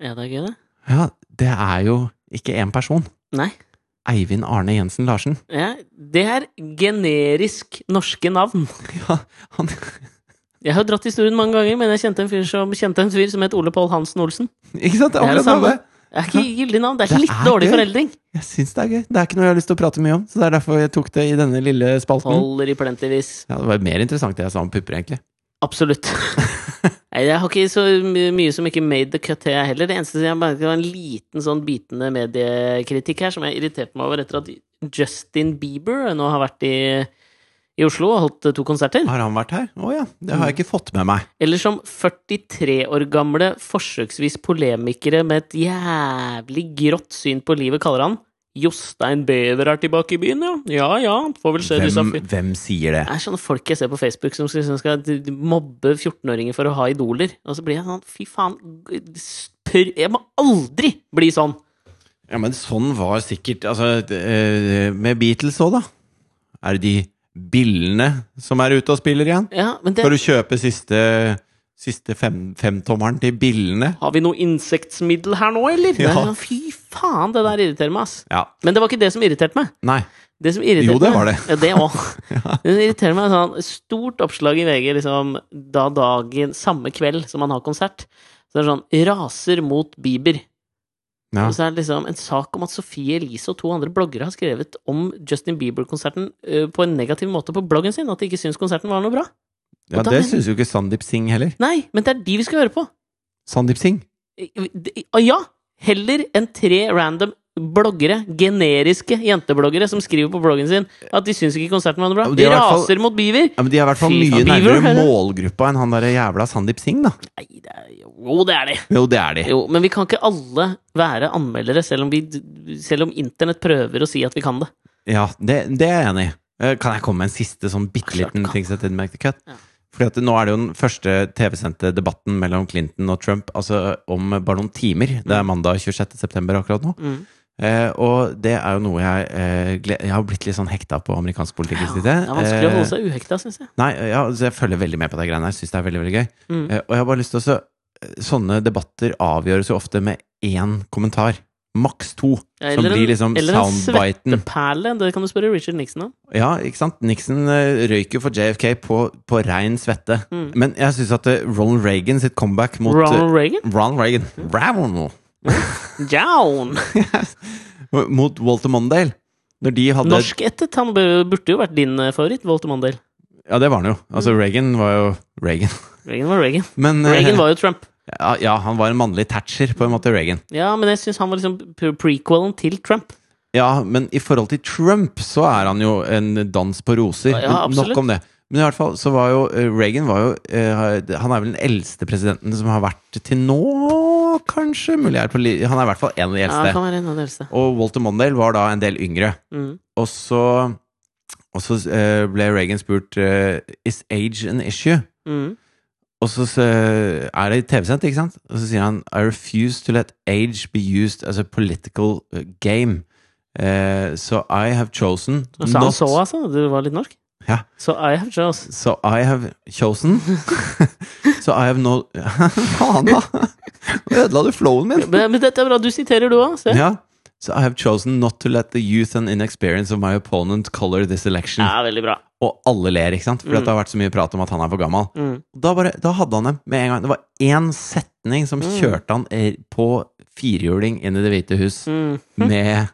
Speaker 1: ja, det er gøy, det.
Speaker 2: Ja, det er jo ikke én person.
Speaker 1: Nei.
Speaker 2: Eivind Arne Jensen Larsen.
Speaker 1: Ja, det er generisk norske navn.
Speaker 2: Ja, han,
Speaker 1: Jeg har dratt historien mange ganger, men jeg kjente en fyr som, kjente en fyr som het Ole Pål Hansen Olsen.
Speaker 2: ikke sant?
Speaker 1: Det
Speaker 2: Det er
Speaker 1: er det
Speaker 2: akkurat
Speaker 1: samme.
Speaker 2: det.
Speaker 1: Det er ikke gyldig navn. Det er
Speaker 2: Det
Speaker 1: litt
Speaker 2: er
Speaker 1: dårlig
Speaker 2: gøy.
Speaker 1: foreldring.
Speaker 2: Jeg syns det er gøy. Det er ikke noe jeg har lyst til å prate mye om, så det er derfor jeg tok det i denne lille spalten.
Speaker 1: Holder i plentyvis.
Speaker 2: Ja, det var mer interessant det jeg sa om pupper, egentlig.
Speaker 1: Absolutt. Nei, jeg har ikke så my- mye som ikke made the cut, jeg heller. Det eneste som jeg merket, var en liten sånn bitende mediekritikk her, som jeg irriterte meg over etter at Justin Bieber nå har vært i, i Oslo og holdt eh, to konserter.
Speaker 2: Har han vært her? Å ja. Det har jeg ikke fått med meg.
Speaker 1: Eller som 43 år gamle forsøksvis polemikere med et jævlig grått syn på livet kaller han. Jostein Bever er tilbake i byen, ja. Ja ja, får vel se disse
Speaker 2: Hvem,
Speaker 1: fyr-
Speaker 2: hvem sier det?
Speaker 1: det er sånne folk jeg ser på Facebook som skal, som skal d- d- mobbe 14-åringer for å ha idoler. Og så blir jeg sånn Fy faen. g- Spør Jeg må aldri bli sånn!
Speaker 2: Ja, men sånn var sikkert Altså, eh, med Beatles òg, da. Er det de billene som er ute og spiller igjen?
Speaker 1: Ja, men det
Speaker 2: Skal du kjøpe siste, siste fem- femtommeren til Billene?
Speaker 1: Har vi noe insektmiddel her nå, eller? Det
Speaker 2: Ja.
Speaker 1: er sånn, Fy faen, det der irriterer meg, ass.
Speaker 2: Ja.
Speaker 1: Men det var ikke det som irriterte meg.
Speaker 2: Nei.
Speaker 1: Det som irriterte
Speaker 2: Jo, det
Speaker 1: meg-
Speaker 2: var det.
Speaker 1: Ja, det òg. Det som irriterer meg er sånn stort oppslag i VG liksom, da dagen samme kveld som han har konsert. Så det er sånn 'Raser mot Bieber'.
Speaker 2: Ja.
Speaker 1: Og så er det liksom en sak om at Sofie Elise og to andre bloggere har skrevet om Justin Bieber-konserten eh, på en negativ måte på bloggen sin, at de ikke syns konserten var noe bra.
Speaker 2: ja,
Speaker 1: da
Speaker 2: det
Speaker 1: mener-
Speaker 2: syns jo ikke Sandeep Singh heller.
Speaker 1: Nei, men det er de vi skal høre på.
Speaker 2: Sandeep Singh.
Speaker 1: Eh, de- ah, Ja, heller enn tre random bloggere, generiske jentebloggere, som skriver på bloggen sin at de syns ikke konserten var noe bra.
Speaker 2: Ja, men de
Speaker 1: De
Speaker 2: har i hvert
Speaker 1: raser mot Bieber.
Speaker 2: Ja, men De er i hvert fall
Speaker 1: Fy
Speaker 2: mye
Speaker 1: faen, Bieber,
Speaker 2: nærmere
Speaker 1: eller?
Speaker 2: målgruppa enn han der jævla Sandeep Singh, da.
Speaker 1: Nei, det er, jo, det er de.
Speaker 2: Jo, det er de.
Speaker 1: Jo, men vi kan ikke alle være anmeldere, selv om, vi, selv om internett prøver å si at vi kan det.
Speaker 2: Ja, det, det er jeg enig i. Eh, Kan jeg komme med en siste sånn bitte
Speaker 1: Klart du
Speaker 2: liten
Speaker 1: kan.
Speaker 2: ting som heter Make the Cut?
Speaker 1: Ja.
Speaker 2: Fordi at Nå er det jo den første TV-sendte debatten mellom Clinton og Trump altså om bare noen timer. Det er mandag 26. september akkurat nå.
Speaker 1: Mm.
Speaker 2: Eh, og det er jo noe jeg eh, gle- Jeg har blitt litt sånn hekta på amerikansk politikk. i
Speaker 1: Ja,
Speaker 2: siste.
Speaker 1: det er vanskelig å
Speaker 2: Eh,
Speaker 1: holde seg uhekta, syns jeg.
Speaker 2: Nei, ja, altså jeg følger veldig med på de greiene her. Syns det er veldig veldig gøy.
Speaker 1: Mm.
Speaker 2: Eh, Og jeg har bare lyst til å så, Sånne debatter avgjøres jo ofte med én kommentar. Maks to.
Speaker 1: Ja,
Speaker 2: som blir liksom
Speaker 1: eller en
Speaker 2: soundbiten.
Speaker 1: svetteperle. Det kan du spørre Richard Nixon om.
Speaker 2: Ja, ikke sant? Nixon eh, røyk jo for JFK på, på rein svette.
Speaker 1: Mm.
Speaker 2: Men jeg syns at eh, Ronald Reagan sitt comeback mot eh,
Speaker 1: Ronald Mm. Reagan?
Speaker 2: Ronald Reagan Ronald,
Speaker 1: Down!
Speaker 2: Mot Walter Mondale. Når de hadde
Speaker 1: Norskættet. Han bør- burde jo vært din eh, favoritt, Walter Mondale.
Speaker 2: Ja, det var han jo. Altså, Reagan var jo Reagan.
Speaker 1: Reagan var Reagan.
Speaker 2: Men eh,
Speaker 1: Mm. Reagan var jo Trump.
Speaker 2: ja, ja, han var en mannlig Thatcher, på en måte, Reagan.
Speaker 1: Ja, men jeg syns han var liksom pre- prequelen til Trump.
Speaker 2: Ja, men i forhold til Trump så er han jo en dans på roser.
Speaker 1: Ja,
Speaker 2: Men
Speaker 1: absolutt.
Speaker 2: Nok om det. Men i hvert fall så var jo eh, Reagan var jo eh, Han er vel den eldste presidenten som har vært til nå, kanskje? Mulig er på li Han er i hvert fall en av de
Speaker 1: Ja, han
Speaker 2: eldste.
Speaker 1: kan være en av de eldste.
Speaker 2: Og Walter Mondale var da en del yngre.
Speaker 1: Mm.
Speaker 2: Og så, og så eh, ble Reagan spurt eh, Is age an issue?
Speaker 1: Mm.
Speaker 2: Og så så er det TV-sendt, ikke sant? Og så sier han I refuse to let age be used as a political uh, game. Eh, so I have chosen
Speaker 1: Og så han så, altså. Du var litt norsk.
Speaker 2: Ja.
Speaker 1: Så I have chose.
Speaker 2: So I have chosen So I have no Faen, da! Nå ødela du flowen min!
Speaker 1: Men, men dette er bra. Du siterer, du òg. Se. Ja.
Speaker 2: Ja. So I have chosen not to let the youth and inexperience of my opponent color this election.
Speaker 1: veldig bra.
Speaker 2: Og alle ler, ikke sant? Fordi at det har vært så mye prat om at han er for gammel.
Speaker 1: Mm.
Speaker 2: Da, bare, da hadde han dem med en gang. Det var én setning som
Speaker 1: Mm.
Speaker 2: kjørte han eh, på firhjuling inn i Det hvite hus
Speaker 1: Mm.
Speaker 2: med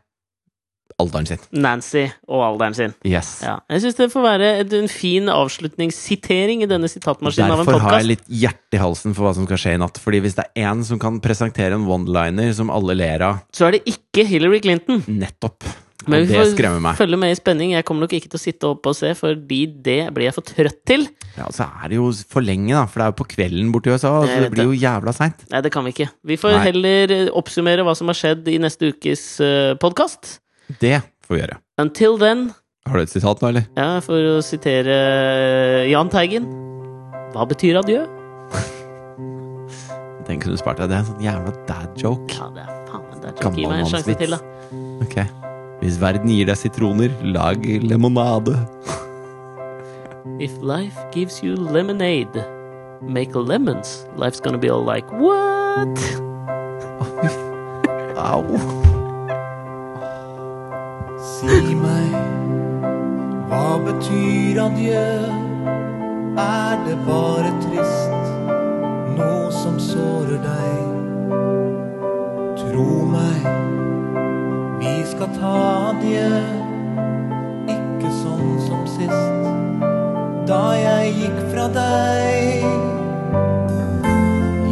Speaker 2: alderen sin.
Speaker 1: Nancy og alderen sin.
Speaker 2: Yes.
Speaker 1: Ja. Jeg syns det får være et, en fin avslutningssitering i denne sitatmaskinen av en
Speaker 2: Derfor har jeg
Speaker 1: podkast.
Speaker 2: litt hjerte i halsen for hva som skal skje i natt. Fordi hvis det er én som kan presentere en one-liner som alle ler av,
Speaker 1: Så er det ikke Hillary Clinton.
Speaker 2: nettopp Og
Speaker 1: Men vi
Speaker 2: det
Speaker 1: får
Speaker 2: skremmer meg.
Speaker 1: følge med i spenning. Jeg kommer nok ikke til å sitte oppe og se, fordi det blir jeg for trøtt til.
Speaker 2: Ja, Så er det jo for lenge, da. For det er jo på kvelden borti USA, og
Speaker 1: Jeg
Speaker 2: så det
Speaker 1: vet
Speaker 2: blir jo jævla seint.
Speaker 1: Nei, det kan vi ikke. Vi får
Speaker 2: Nei.
Speaker 1: heller eh, oppsummere hva som har skjedd i neste ukes uh, podkast.
Speaker 2: Det får vi gjøre.
Speaker 1: Until then,
Speaker 2: Har du et sitat nå, eller?
Speaker 1: ja, for å sitere eh, Jahn Teigen Hva betyr adjø?
Speaker 2: Den kunne du spart deg. Det er en sånn jævla dad-joke.
Speaker 1: Ja, det er faen meg det. er- Gi meg en sjanse til, da.
Speaker 2: Gammalmannsvits. Ok. Hvis verden gir deg sitroner, lag lemonade.
Speaker 1: If life gives you lemonade, make lemons. Life's gonna be all like, what?
Speaker 2: Au.
Speaker 4: Si meg, hva betyr adjø? Er det bare trist, noe som sårer deg? Tro meg, vi skal ta adjø, ikke sånn som sist, da jeg gikk fra deg.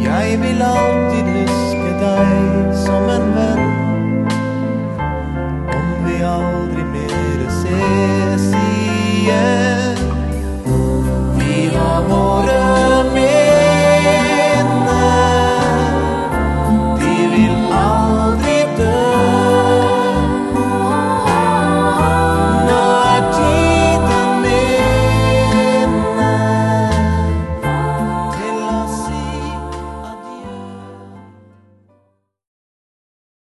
Speaker 4: Jeg vil alltid huske deg som en venn om vi aldri mer é, ses igjen. Vi har våre